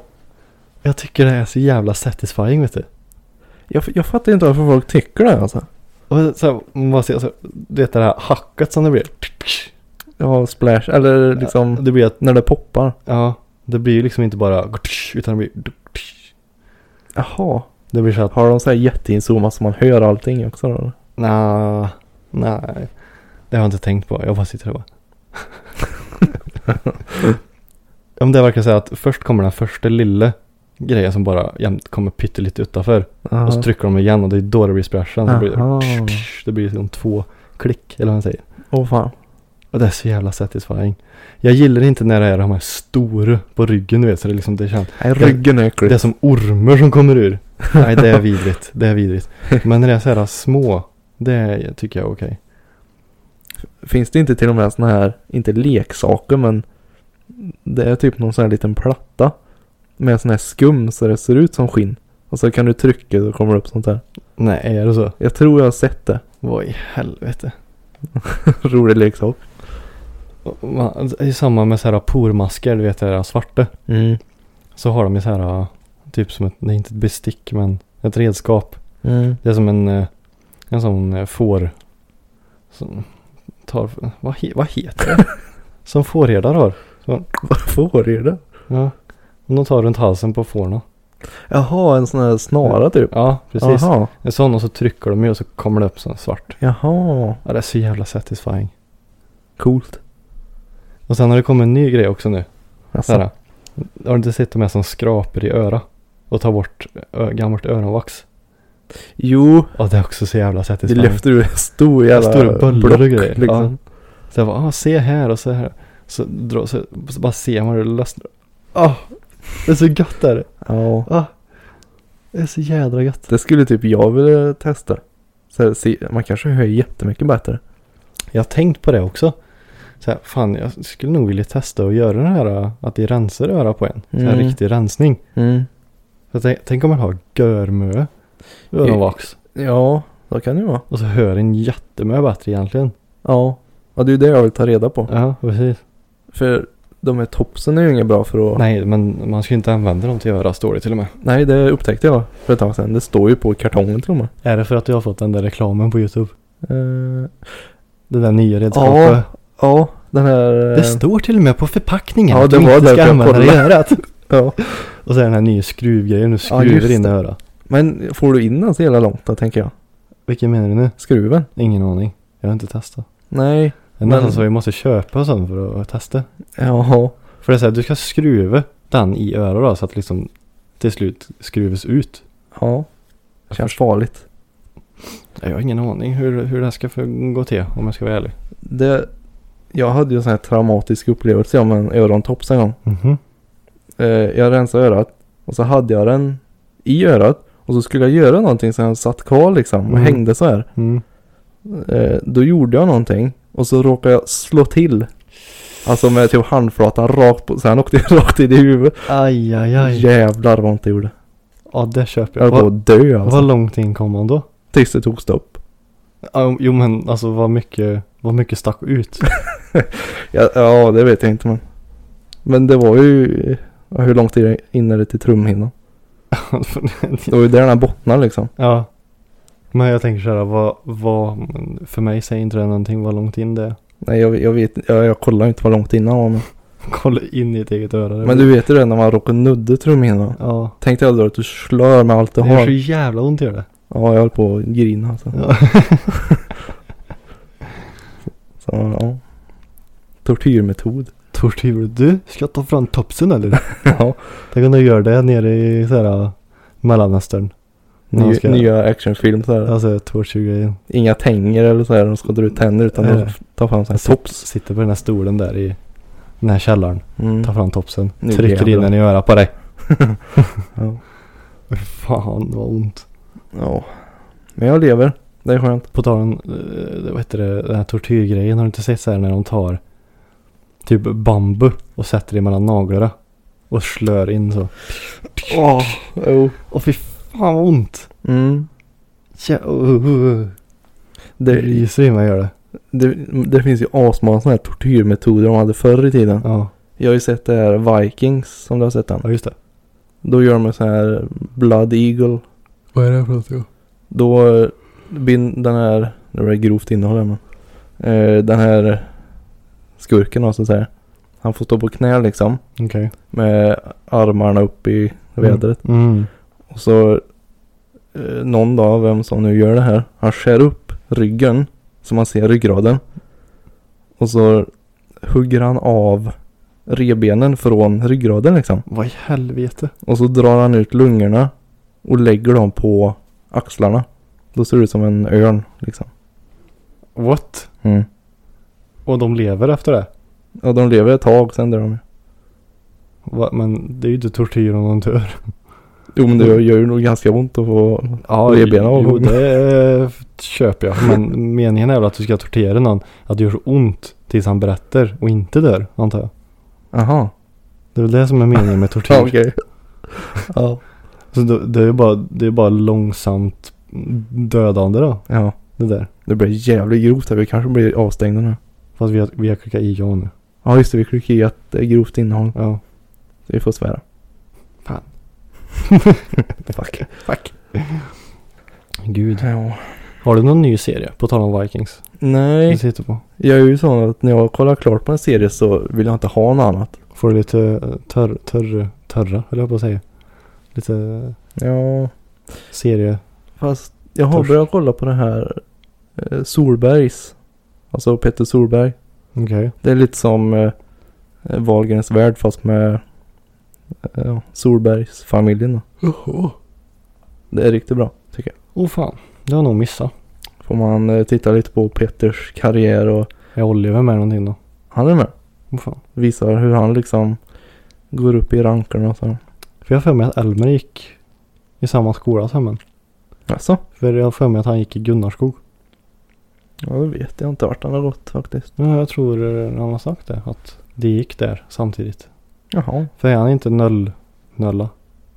Speaker 2: Jag tycker det är så jävla satisfying vet du.
Speaker 3: Jag, jag fattar inte varför folk tycker det alltså.
Speaker 2: Och så här, man bara ser så här, du vet det här hacket som det blir.
Speaker 3: Ja, splash. Eller liksom
Speaker 2: Det blir att,
Speaker 3: när det poppar.
Speaker 2: ja, det blir ju liksom inte bara utan det blir
Speaker 3: Jaha.
Speaker 2: Det blir så att,
Speaker 3: Har de så här jätteinzoomat så man hör allting också då? eller?
Speaker 2: nej, nej. Det har jag inte tänkt på. Jag bara sitter och bara. [laughs] Om det verkar säga att först kommer den första lilla grejen som bara jämt kommer pyttelite utanför. Och så trycker de igen och det är då det blir splashen. Så blir
Speaker 3: Aha.
Speaker 2: det, det blir liksom två klick eller vad man säger.
Speaker 3: Åh fan.
Speaker 2: Och det är så jävla satisfying. Jag gillar inte när det är de här stora på ryggen du vet. Så det, är liksom, det, känns,
Speaker 3: Nej, ryggen är äcklig.
Speaker 2: det är som ormar som kommer ur. Nej det är vidrigt. Det är vidrigt. Men när det är så här små. Det är- tycker jag är okej.
Speaker 3: [laughs] Finns det inte till och med såna här, inte leksaker men det är typ någon sån här liten platta med sån här skum så det ser ut som skinn. Och så kan du trycka och kommer det upp sånt här.
Speaker 2: Nej är det så?
Speaker 3: Jag tror jag har sett det. [laughs]
Speaker 2: Vad i helvete.
Speaker 3: Rolig leksak.
Speaker 2: Och man- Det är ju samma med så här pormasker. Du vet det där svarta.
Speaker 3: Mm.
Speaker 2: Så har de ju så här. Typ som ett, det är inte ett bestick men ett redskap.
Speaker 3: [laughs] Mm.
Speaker 2: Det är som en, eh, en sån eh, får. Som tar, vad, he, vad heter [laughs] det? som fårherdar har.
Speaker 3: Får är det?
Speaker 2: Ja. Om de tar runt halsen på fårna.
Speaker 3: Jaha, en sån här snara typ.
Speaker 2: Ja, precis.
Speaker 3: Jaha.
Speaker 2: En sån och så trycker de ju och så kommer det upp sån svart.
Speaker 3: Jaha.
Speaker 2: Ja, det är så jävla satisfying.
Speaker 3: Coolt.
Speaker 2: Och sen har det kommit en ny grej också nu. Så
Speaker 3: Alltså.
Speaker 2: här, har du inte sett de här som skraper i öra? Och tar bort ö, gammalt öronvax.
Speaker 3: Jo,
Speaker 2: Ja, det är också så jävla
Speaker 3: det
Speaker 2: satisfying.
Speaker 3: lyfter ur en stor jävla
Speaker 2: Stora böllor och
Speaker 3: block,
Speaker 2: grejer.
Speaker 3: Liksom.
Speaker 2: Så jag bara, ah, se här och så här. Så, dra, så, så bara ser man hur det lösnar. Ah, det är så gött där.
Speaker 3: Ja.
Speaker 2: Ah, det är så jädra gött.
Speaker 3: Det skulle typ jag vilja testa. Så här, se, man kanske hör jättemycket bättre.
Speaker 2: Jag har tänkt på det också. Så här, fan, jag skulle nog vilja testa att göra den här att det rensar öra på en. Så här
Speaker 3: Mm.
Speaker 2: riktig rensning. Så tänk, tänk om man har görmö öronvax
Speaker 3: Ja, så kan det ju vara.
Speaker 2: och så hör en jättemö bättre egentligen.
Speaker 3: Ja. ja, det är ju det jag vill ta reda på.
Speaker 2: Ja, precis.
Speaker 3: För de här topsen är ju inget bra för att...
Speaker 2: Nej, men man ska ju inte använda dem till öra står det till och med.
Speaker 3: Nej, det upptäckte jag för ett tag sedan. Det står ju på kartongen till och med.
Speaker 2: Är det för att du har fått den där reklamen på YouTube?
Speaker 3: Eh,
Speaker 2: Det där nya redskapet?
Speaker 3: Ja, ja, den här... eh,
Speaker 2: Det står till och med på förpackningen
Speaker 3: Ja,
Speaker 2: att
Speaker 3: det
Speaker 2: du
Speaker 3: var
Speaker 2: inte ska
Speaker 3: därför jag
Speaker 2: använda det i
Speaker 3: kollade.
Speaker 2: [laughs] örat.
Speaker 3: ja.
Speaker 2: Och så är den här nya skruvgrejen, du
Speaker 3: Ja, just
Speaker 2: skruvar in i
Speaker 3: det.
Speaker 2: örat.
Speaker 3: Men får du in den så jävla långt då, tänker jag?
Speaker 2: Vilken menar du nu?
Speaker 3: Skruven?
Speaker 2: Ingen aning. Jag har inte testat.
Speaker 3: Nej.
Speaker 2: Det är
Speaker 3: Men-
Speaker 2: nästan så vi måste köpa sån för att testa.
Speaker 3: Ja.
Speaker 2: För det är så här, du ska skruva den i örat då, så att liksom till slut skruvas ut.
Speaker 3: Ja. Känns farligt.
Speaker 2: Jag har ingen aning hur, hur det här ska för- gå till om jag ska vara ärlig.
Speaker 3: Det... Jag hade ju en sån här traumatisk upplevelse om en örontops en gång.
Speaker 2: Mhm.
Speaker 3: Eh, jag rensade örat och så hade jag den i örat och så skulle jag göra någonting så den satt kvar liksom och
Speaker 2: Mm.
Speaker 3: hängde så här.
Speaker 2: Mm.
Speaker 3: Eh, då gjorde jag någonting och så råkade jag slå till. Alltså med typ handflatan rakt på, så han åkte [laughs] rakt in i huvudet.
Speaker 2: Aj, aj, aj.
Speaker 3: Jävlar vad ont det gjorde.
Speaker 2: Ja, det köper
Speaker 3: Jag
Speaker 2: jag.
Speaker 3: höll på
Speaker 2: Vad,
Speaker 3: att dö
Speaker 2: vad
Speaker 3: alltså.
Speaker 2: långt in kom man då?
Speaker 3: Tills det tog stopp.
Speaker 2: Ja, Jo, men alltså vad mycket, vad mycket stack [laughs] ut.
Speaker 3: Ja, ja, det vet jag inte men. Men det var ju, ja, hur lång tid in är det till trumhinnan? Det var ju där den här bottnade liksom.
Speaker 2: Ja. Men jag tänker såhär, vad, vad, men för mig säger inte det någonting vad långt in det är.
Speaker 3: Nej jag, jag vet, jag, jag kollar inte vad långt innan var men.
Speaker 2: Kolla in i ett eget öra. det
Speaker 3: Men
Speaker 2: blir-
Speaker 3: du vet ju det när man råkar nudda trumhinnan.
Speaker 2: Ja.
Speaker 3: Tänk dig aldrig att du slår med allt du
Speaker 2: Det gör
Speaker 3: har.
Speaker 2: så jävla ont gör det.
Speaker 3: Ja, jag höll på att grina alltså.
Speaker 2: Ja. [laughs]
Speaker 3: Så, ja. Tortyrmetod.
Speaker 2: Tortyr. Du, ska jag ta fram topsen [laughs] eller?
Speaker 3: ja.
Speaker 2: Tänk om du gör det nere i såhär Mellanöstern. När de
Speaker 3: Ny,
Speaker 2: ska-
Speaker 3: Nya actionfilm så här.
Speaker 2: Alltså tortyrgrejen.
Speaker 3: Inga tänger eller så här. De ska dra ut tänder utan
Speaker 2: Nej.
Speaker 3: de tar fram så här tops.
Speaker 2: Sitter på den här stolen där i den här källaren.
Speaker 3: Mm.
Speaker 2: Tar fram topsen.
Speaker 3: Nu
Speaker 2: trycker in
Speaker 3: jävlar.
Speaker 2: den i örat på dig.
Speaker 3: [laughs] Ja.
Speaker 2: Fan vad ont.
Speaker 3: ja. Men jag lever. Det är skönt.
Speaker 2: På tal om, eh, vad heter det, den här tortyrgrejen. Har du inte sett så här när de tar typ bambu och sätter det mellan naglarna? Och slör in så.
Speaker 3: Åh, jo.
Speaker 2: Åh fy fan vad ont.
Speaker 3: Mm.
Speaker 2: Tja, uh, uh, uh. Det
Speaker 3: Det,
Speaker 2: ryser i mig gör det.
Speaker 3: det, det finns ju asmånga sådana här tortyrmetoder de hade förr i tiden.
Speaker 2: Ja,
Speaker 3: Jag har ju sett det här Vikings, som du har sett den.
Speaker 2: ja just det.
Speaker 3: Då gör de så här Blood Eagle.
Speaker 2: Vad är det för något?
Speaker 3: Då eh, bin den här, det var grovt innehåll här, men. Eh, den här skurken då så att säga. Han får stå på knä liksom.
Speaker 2: Okej.
Speaker 3: Med armarna upp i vädret.
Speaker 2: Mm.
Speaker 3: Och så eh, någon dag, vem som nu gör det här. Han skär upp ryggen. Så man ser ryggraden. Och så hugger han av revbenen från ryggraden liksom.
Speaker 2: Vad i helvete?
Speaker 3: Och så drar han ut lungorna och lägger dem på axlarna. Då ser det ut som en örn liksom.
Speaker 2: What?
Speaker 3: Mm.
Speaker 2: Och de lever efter det?
Speaker 3: Ja, de lever ett tag, sen dör de ju.
Speaker 2: Va? Men det är ju inte tortyr om de dör.
Speaker 3: Jo, men det gör gör ju nog ganska ont att få...
Speaker 2: Ja,
Speaker 3: Revbenen av
Speaker 2: jo,
Speaker 3: dem.
Speaker 2: det eh, köper jag. Men meningen är väl att du ska tortera någon. Att det gör så ont tills han berättar och inte dör, antar jag.
Speaker 3: Aha.
Speaker 2: Det är väl det som är meningen med
Speaker 3: [laughs] Ja,
Speaker 2: tortyr.
Speaker 3: okej. ja.
Speaker 2: Så det, det är ju bara, det är bara långsamt dödande då,
Speaker 3: ja.
Speaker 2: det där.
Speaker 3: Det blir jävligt grovt här. Vi kanske blir avstängda nu.
Speaker 2: Fast vi har, vi har klickat i ja nu.
Speaker 3: Ja, just det. Vi klickar i att det är grovt innehåll.
Speaker 2: Ja.
Speaker 3: Vi får svära.
Speaker 2: Fan.
Speaker 3: Fuck.
Speaker 2: Fuck. Gud.
Speaker 3: Ja.
Speaker 2: Har du någon ny serie? På tal om Vikings. Du
Speaker 3: Nej.
Speaker 2: sitter på.
Speaker 3: Jag är ju sån att när jag kollar klart på en serie så vill jag inte ha något annat.
Speaker 2: Får du lite eh, törr, törr, törra, höll jag på att säga. Lite
Speaker 3: Ja.
Speaker 2: serie.
Speaker 3: Fast jag har
Speaker 2: Torsk.
Speaker 3: börjat kolla på det här eh, Solbergs. Alltså Petter Solberg.
Speaker 2: Okej.
Speaker 3: Det är lite som eh, Wahlgrens värld fast med eh, ja, Solbergs familjen då. Det är riktigt bra tycker jag.
Speaker 2: Åh fan. Det har jag nog missat.
Speaker 3: Får man eh, titta lite på Peters karriär och
Speaker 2: Är Oliver med någonting då?
Speaker 3: han är med.
Speaker 2: Åh fan.
Speaker 3: Visar hur han liksom går upp i rankerna och så.
Speaker 2: För jag har för mig att Elmer gick i samma skola som en.
Speaker 3: Alltså,
Speaker 2: För jag har för mig att han gick i Gunnarskog.
Speaker 3: ja, det vet jag inte vart han har gått faktiskt.
Speaker 2: Ja, jag tror eh, han har sagt det. Att det gick där samtidigt.
Speaker 3: Jaha,
Speaker 2: För är han inte noll, nolla?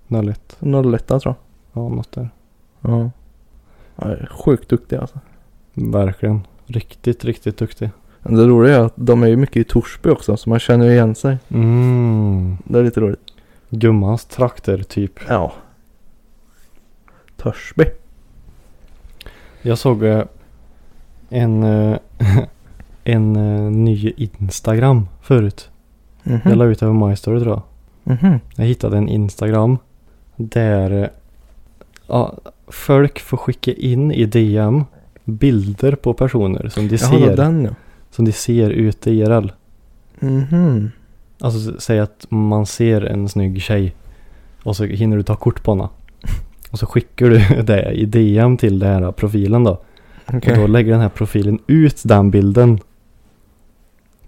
Speaker 2: Noll ett?
Speaker 3: 01 tror jag.
Speaker 2: Ja, något där.
Speaker 3: Ja. Han är sjukt duktig alltså.
Speaker 2: Verkligen. Riktigt, riktigt duktig.
Speaker 3: Men Det roliga är att de är ju mycket i Torsby också så man känner ju igen sig.
Speaker 2: Mm.
Speaker 3: Det är lite roligt.
Speaker 2: Gummans trakter typ.
Speaker 3: Ja. Törsby.
Speaker 2: Jag såg eh, en, eh, [laughs] en eh, ny Instagram förut.
Speaker 3: Mhm.
Speaker 2: Jag la ut det på My Story tror jag.
Speaker 3: Mhm.
Speaker 2: Jag hittade en Instagram där eh, ja, folk får skicka in i DM bilder på personer som de
Speaker 3: Jaha, det var
Speaker 2: ser,
Speaker 3: den ja.
Speaker 2: som de ser ute i IRL.
Speaker 3: Mhm.
Speaker 2: Alltså s- säg att man ser en snygg tjej och så hinner du ta kort på henne. Och så skickar du [laughs] det i DM till den här profilen då. Och då
Speaker 3: Okej.
Speaker 2: lägger den här profilen ut den bilden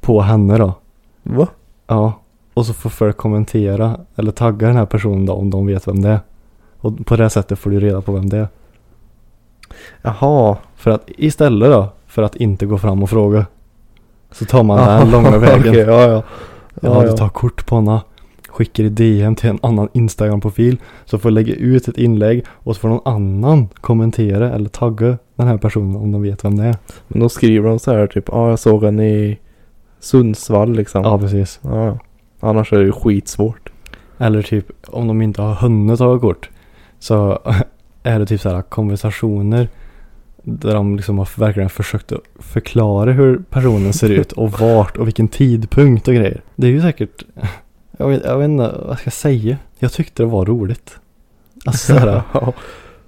Speaker 2: på henne då.
Speaker 3: Va?
Speaker 2: Ja. Och så får folk kommentera eller tagga den här personen då om de vet vem det är. Och på det här sättet får du reda på vem det är.
Speaker 3: Jaha.
Speaker 2: För att istället då, för att inte gå fram och fråga. Så tar man den
Speaker 3: [laughs] Jaha,
Speaker 2: här långa vägen.
Speaker 3: Okej, ja, ja.
Speaker 2: Ja, du tar kort på henne. Skickar i DM till en annan Instagram-profil. Så får lägga ut ett inlägg och så får någon annan kommentera eller tagga den här personen om de vet vem det är.
Speaker 3: Men då skriver de så här typ, ja ah, jag såg henne i Sundsvall liksom.
Speaker 2: Ja, precis.
Speaker 3: Ja, ja. Annars är det ju skitsvårt.
Speaker 2: Eller typ om de inte har hunnit ta kort. Så [laughs] är det typ så här konversationer. Där de liksom har verkligen försökt att förklara hur personen ser ut och vart och vilken tidpunkt och grejer. Det är ju säkert, [laughs] jag vet, jag vet inte vad jag ska säga. Jag tyckte det var roligt. Alltså så här,
Speaker 3: [laughs] ja.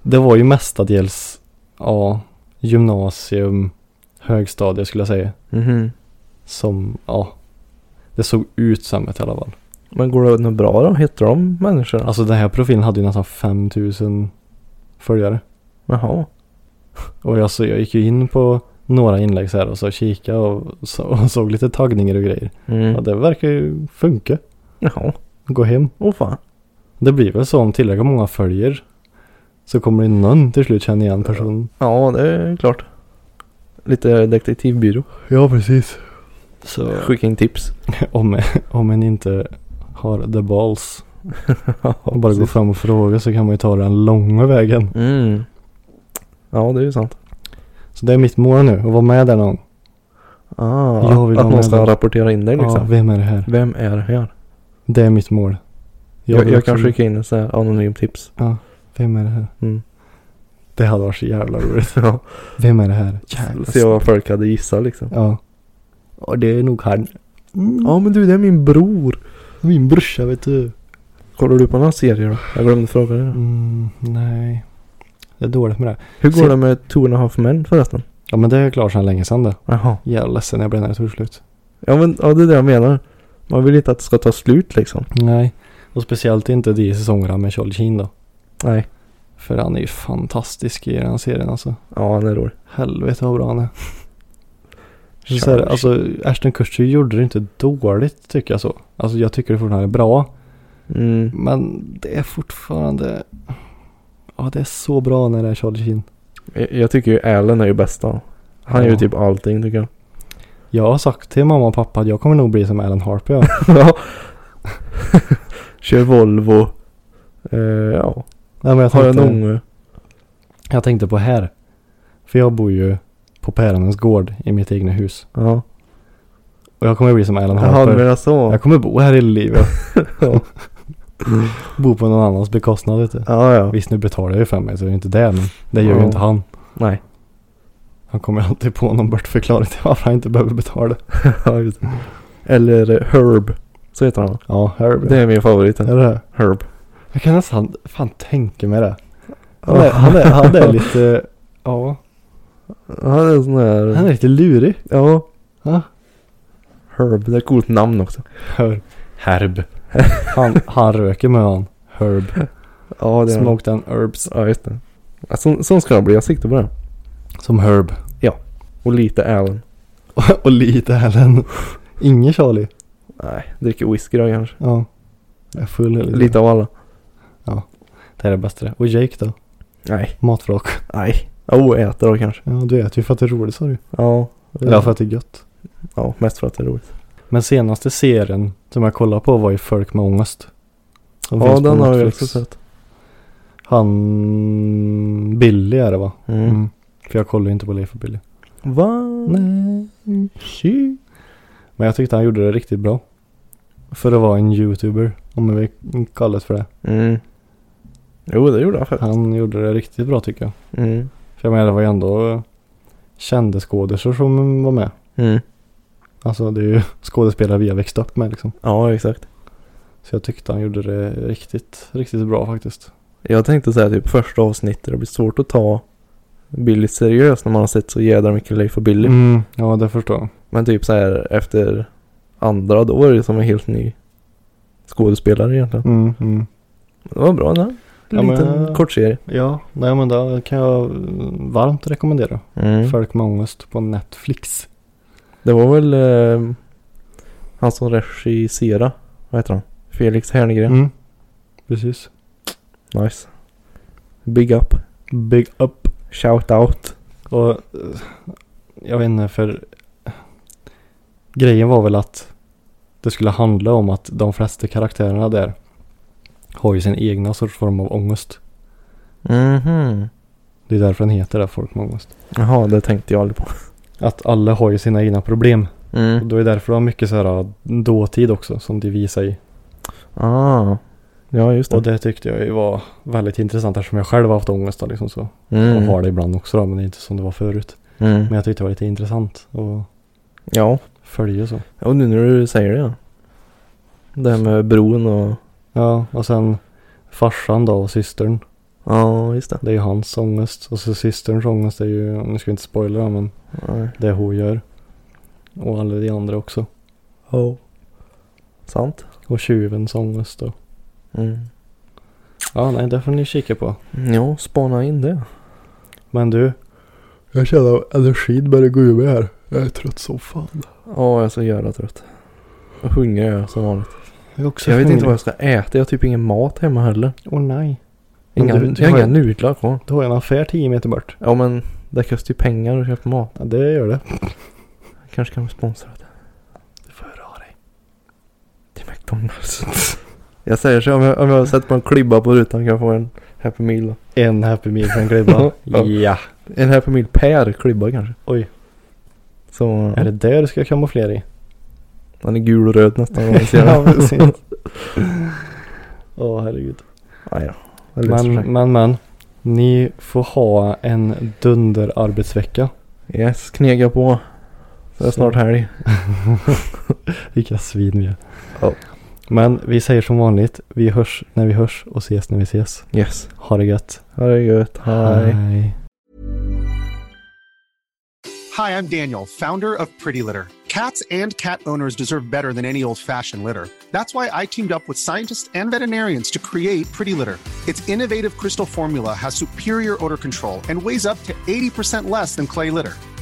Speaker 2: Det var ju mestadels ja, gymnasium, högstadie skulle jag säga.
Speaker 3: Mhm.
Speaker 2: Som, ja, det såg ut som ett i alla fall.
Speaker 3: Men går det något bra då? Heter de människorna?
Speaker 2: Alltså den här profilen hade ju nästan 5000 följare.
Speaker 3: Jaha.
Speaker 2: Och jag, så, jag gick ju in på några inlägg så här och så kikade och, så, [laughs] och såg lite taggningar och grejer.
Speaker 3: Mm.
Speaker 2: Ja, det verkar ju funka.
Speaker 3: Jaha.
Speaker 2: Gå hem.
Speaker 3: Åh fan.
Speaker 2: Det blir väl så om tillräckligt många följer. Så kommer det någon till slut känna igen personen.
Speaker 3: Ja, det är klart. Lite detektivbyrå.
Speaker 2: Ja precis. Så
Speaker 3: Skicka in tips.
Speaker 2: [laughs] om, om en inte har the balls
Speaker 3: [laughs]
Speaker 2: och bara går
Speaker 3: Precis.
Speaker 2: fram och frågar så kan man ju ta den långa vägen.
Speaker 3: Mm. Ja, det är ju sant.
Speaker 2: Så det är mitt mål nu, att vara med där någon.
Speaker 3: Ah,
Speaker 2: Jag vill
Speaker 3: att
Speaker 2: ha
Speaker 3: någon
Speaker 2: med
Speaker 3: ska
Speaker 2: den.
Speaker 3: rapportera in dig
Speaker 2: Ja,
Speaker 3: liksom.
Speaker 2: vem är det här?
Speaker 3: Vem är det här?
Speaker 2: Det är mitt mål.
Speaker 3: Jag, jag,
Speaker 2: vill också-
Speaker 3: kan skicka in en sån här anonym tips.
Speaker 2: Ja, vem är det här?
Speaker 3: Mm.
Speaker 2: Det hade varit så jävla roligt.
Speaker 3: [laughs] Ja.
Speaker 2: Vem är det här?
Speaker 3: Se vad folk hade gissat liksom.
Speaker 2: Ja. Ja, det är nog han.
Speaker 3: Ja men du det är min bror.
Speaker 2: Min brorsa vet du.
Speaker 3: Kollar du på några serier då? Jag glömde fråga dig. då.
Speaker 2: Mm, nej. Det är dåligt med det.
Speaker 3: Hur går
Speaker 2: Se-
Speaker 3: det med Two and a half men förresten?
Speaker 2: Ja men det är klart sedan länge sedan det.
Speaker 3: Jaha.
Speaker 2: Jag är ledsen när jag blev när det tog slut.
Speaker 3: Ja men ja, det är det jag menar. Man vill inte att det ska ta slut liksom.
Speaker 2: Nej. Och speciellt inte de säsongerna med Charlie Sheen då.
Speaker 3: Nej.
Speaker 2: För han är ju fantastisk i den här serien alltså.
Speaker 3: Ja han är rolig.
Speaker 2: Helvete vad bra han är. Så här, alltså Ashton Kutcher gjorde det inte dåligt tycker jag så. Alltså jag tycker det fortfarande är bra.
Speaker 3: Mm.
Speaker 2: Men det är fortfarande... Ja det är så bra när det är Charlie Sheen.
Speaker 3: Jag, jag tycker ju Alan är ju bästa. Han gör ju
Speaker 2: Ja.
Speaker 3: typ allting [laughs] tycker jag.
Speaker 2: Jag har sagt till mamma och pappa att jag kommer nog bli som Alan Harper. Ja.
Speaker 3: Ja. Kör Volvo. Eh, ja.
Speaker 2: Nej, men jag,
Speaker 3: Har jag eh? en
Speaker 2: tänkte,
Speaker 3: unge.
Speaker 2: jag tänkte på här. För jag bor ju på Päronens gård i mitt egna hus.
Speaker 3: Ja.
Speaker 2: Och jag kommer bli som Alan
Speaker 3: Jaha du
Speaker 2: Harper.
Speaker 3: menar så.
Speaker 2: Jag kommer bo här i livet.
Speaker 3: Ja. Mm.
Speaker 2: bo på någon annans bekostnad vet du.
Speaker 3: Ja ja.
Speaker 2: Visst nu betalar jag ju för mig så det är inte det. Men det gör ju
Speaker 3: Ja.
Speaker 2: inte han.
Speaker 3: Nej. [laughs]
Speaker 2: Han kommer alltid på någon bortförklaring till varför han inte behöver betala.
Speaker 3: Ja, just det. Eller eh, Herb. Så heter han.
Speaker 2: Ja, Herb.
Speaker 3: Det är min favorit.
Speaker 2: Är det?
Speaker 3: Herb.
Speaker 2: Jag kan nästan fan tänka mig det. Han är,
Speaker 3: Ja.
Speaker 2: han är, han
Speaker 3: [laughs]
Speaker 2: är lite... Ja.
Speaker 3: Han är en sån
Speaker 2: Han är
Speaker 3: här.
Speaker 2: lite lurig.
Speaker 3: Ja.
Speaker 2: Ja.
Speaker 3: Herb. Det är ett coolt namn också.
Speaker 2: Herb. Herb. Han, han röker med han. Herb.
Speaker 3: Ja det är han.
Speaker 2: Smoked and herbs.
Speaker 3: Ja just det. Ja, Sån, sån ska han bli. Jag siktar på det.
Speaker 2: Som herb. [laughs]
Speaker 3: Och lite Alan.
Speaker 2: Och, och lite Allen. Ingen Charlie.
Speaker 3: Nej. Dricker whisky då kanske.
Speaker 2: Ja. Jag är full hela tiden.
Speaker 3: Lite av alla.
Speaker 2: Det här är det bästa det. Och Jake då?
Speaker 3: Nej.
Speaker 2: Matvrak.
Speaker 3: Nej. Oh, äter då kanske.
Speaker 2: Ja du äter ju för att det är roligt sa du.
Speaker 3: Ja.
Speaker 2: Eller för att det är gött.
Speaker 3: Ja, mest för att det är roligt.
Speaker 2: Men senaste serien som jag kollade på var ju Folk med ångest. Som
Speaker 3: Ja,
Speaker 2: finns på
Speaker 3: den har jag
Speaker 2: Netflix.
Speaker 3: också sett.
Speaker 2: Han... Billy är det va?
Speaker 3: Mm.
Speaker 2: Mm. För jag kollar ju inte på Leif och Billy.
Speaker 3: Va?
Speaker 2: Nej.
Speaker 3: Tji.
Speaker 2: Men jag tyckte han gjorde det riktigt bra. För att vara en youtuber, om vi kallar det för det.
Speaker 3: Mm. Jo, det gjorde han faktiskt.
Speaker 2: Han gjorde det riktigt bra tycker jag.
Speaker 3: Mm.
Speaker 2: För jag menar det var ju ändå eh, kända skådespelare som var med.
Speaker 3: Mm.
Speaker 2: Alltså det är ju [laughs] skådespelare vi har växt upp med liksom.
Speaker 3: Ja, exakt.
Speaker 2: Så jag tyckte han gjorde det riktigt, riktigt bra faktiskt.
Speaker 3: Jag tänkte säga typ första avsnittet, det blir svårt att ta Billy seriöst när man har sett så jädra mycket Leif och Billy.
Speaker 2: Mm, ja det förstår jag.
Speaker 3: Men typ så här efter andra, då är det som en helt ny skådespelare egentligen.
Speaker 2: Mm, mm.
Speaker 3: Men Det var bra den.
Speaker 2: Ja,
Speaker 3: En
Speaker 2: men-
Speaker 3: liten kort serie.
Speaker 2: Ja, nej men det kan jag eh, varmt rekommendera.
Speaker 3: Mm.
Speaker 2: Folk med ångest på Netflix.
Speaker 3: Det var väl eh, han som regisserade, vad heter han? Felix Herngren.
Speaker 2: Mm. Precis.
Speaker 3: Nice. Big up.
Speaker 2: Mm. Big up.
Speaker 3: Shout out.
Speaker 2: Och eh, jag vet inte för grejen var väl att det skulle handla om att de flesta karaktärerna där har ju sin egna sorts form av ångest. Mm-hmm.
Speaker 3: Mhm.
Speaker 2: Det är därför den heter det, folk med ångest.
Speaker 3: Jaha, det tänkte jag aldrig på.
Speaker 2: Att alla har ju sina egna problem. Och
Speaker 3: Mm.
Speaker 2: då är det därför de har mycket så här eh, dåtid också som de visar i.
Speaker 3: Ah. Ja, just det.
Speaker 2: Och det tyckte jag ju var väldigt intressant eftersom jag själv har haft ångest då, liksom så.
Speaker 3: mm.
Speaker 2: Och har det ibland också då, men det är inte som det var förut. Men
Speaker 3: Mm.
Speaker 2: jag tyckte det var lite intressant att
Speaker 3: Ja.
Speaker 2: följa så.
Speaker 3: Och nu när du säger det. Det här med bron och...
Speaker 2: Ja, och sen farsan då och systern.
Speaker 3: Ja, just det.
Speaker 2: Det är ju hans ångest. Och så systerns ångest är ju, nu ska vi inte spoila men
Speaker 3: Nej.
Speaker 2: det hon gör. Och alla de andra också.
Speaker 3: Oh. Sant.
Speaker 2: Och tjuvens ångest då.
Speaker 3: Mm.
Speaker 2: Ja, nej, det får ni kika på.
Speaker 3: Ja, spana in det.
Speaker 2: Men du. Jag känner att energin börjar gå ur mig här. Jag är trött som fan.
Speaker 3: Ja, jag är så jävla trött. Och hungrig är jag som vanligt.
Speaker 2: Jag är också
Speaker 3: Jag vet inte
Speaker 2: hungrig.
Speaker 3: vad jag ska äta. Jag har typ ingen mat hemma heller.
Speaker 2: Åh nej.
Speaker 3: Inga,
Speaker 2: Men du- du
Speaker 3: jag har
Speaker 2: har-
Speaker 3: inga nudlar kvar.
Speaker 2: Du har ju en affär 10 meter bort.
Speaker 3: Ja men det kostar ju pengar att köpa mat.
Speaker 2: Ja, det gör det.
Speaker 3: Kanske kan vi sponsra det. Du får höra av dig. Till McDonalds. [laughs] jag säger så om jag, om jag sätter på en klibba på rutan kan jag få en Happy Meal. då.
Speaker 2: En Happy Meal från Klibba. [laughs] ja.
Speaker 3: En Happy Meal per klibba kanske.
Speaker 2: Oj.
Speaker 3: Så
Speaker 2: Är det där du ska kamouflera i?
Speaker 3: den är gul och röd nästan. om man ser [laughs] den.
Speaker 2: [laughs] ja, precis. Åh herregud.
Speaker 3: Nej då. Ah, Det löser sig.
Speaker 2: Men, men, men. Ni får ha en dunderarbetsvecka.
Speaker 3: Yes, knega på. Så är det
Speaker 2: Så.
Speaker 3: snart helg.
Speaker 2: Vilka svin vi är.
Speaker 3: Ja.
Speaker 2: Men vi säger som vanligt. Vi hörs när vi hörs och ses när vi ses.
Speaker 3: Yes.
Speaker 2: Ha det gött.
Speaker 3: Ha det gött. Hej.
Speaker 2: Hej.
Speaker 5: Hi, I'm Daniel, founder of Pretty Litter. Cats and cat owners deserve better than any old fashioned litter. That's why I teamed up with scientists and veterinarians to create Pretty Litter. Its innovative crystal formula has superior odor control and weighs up to 80% less than clay litter.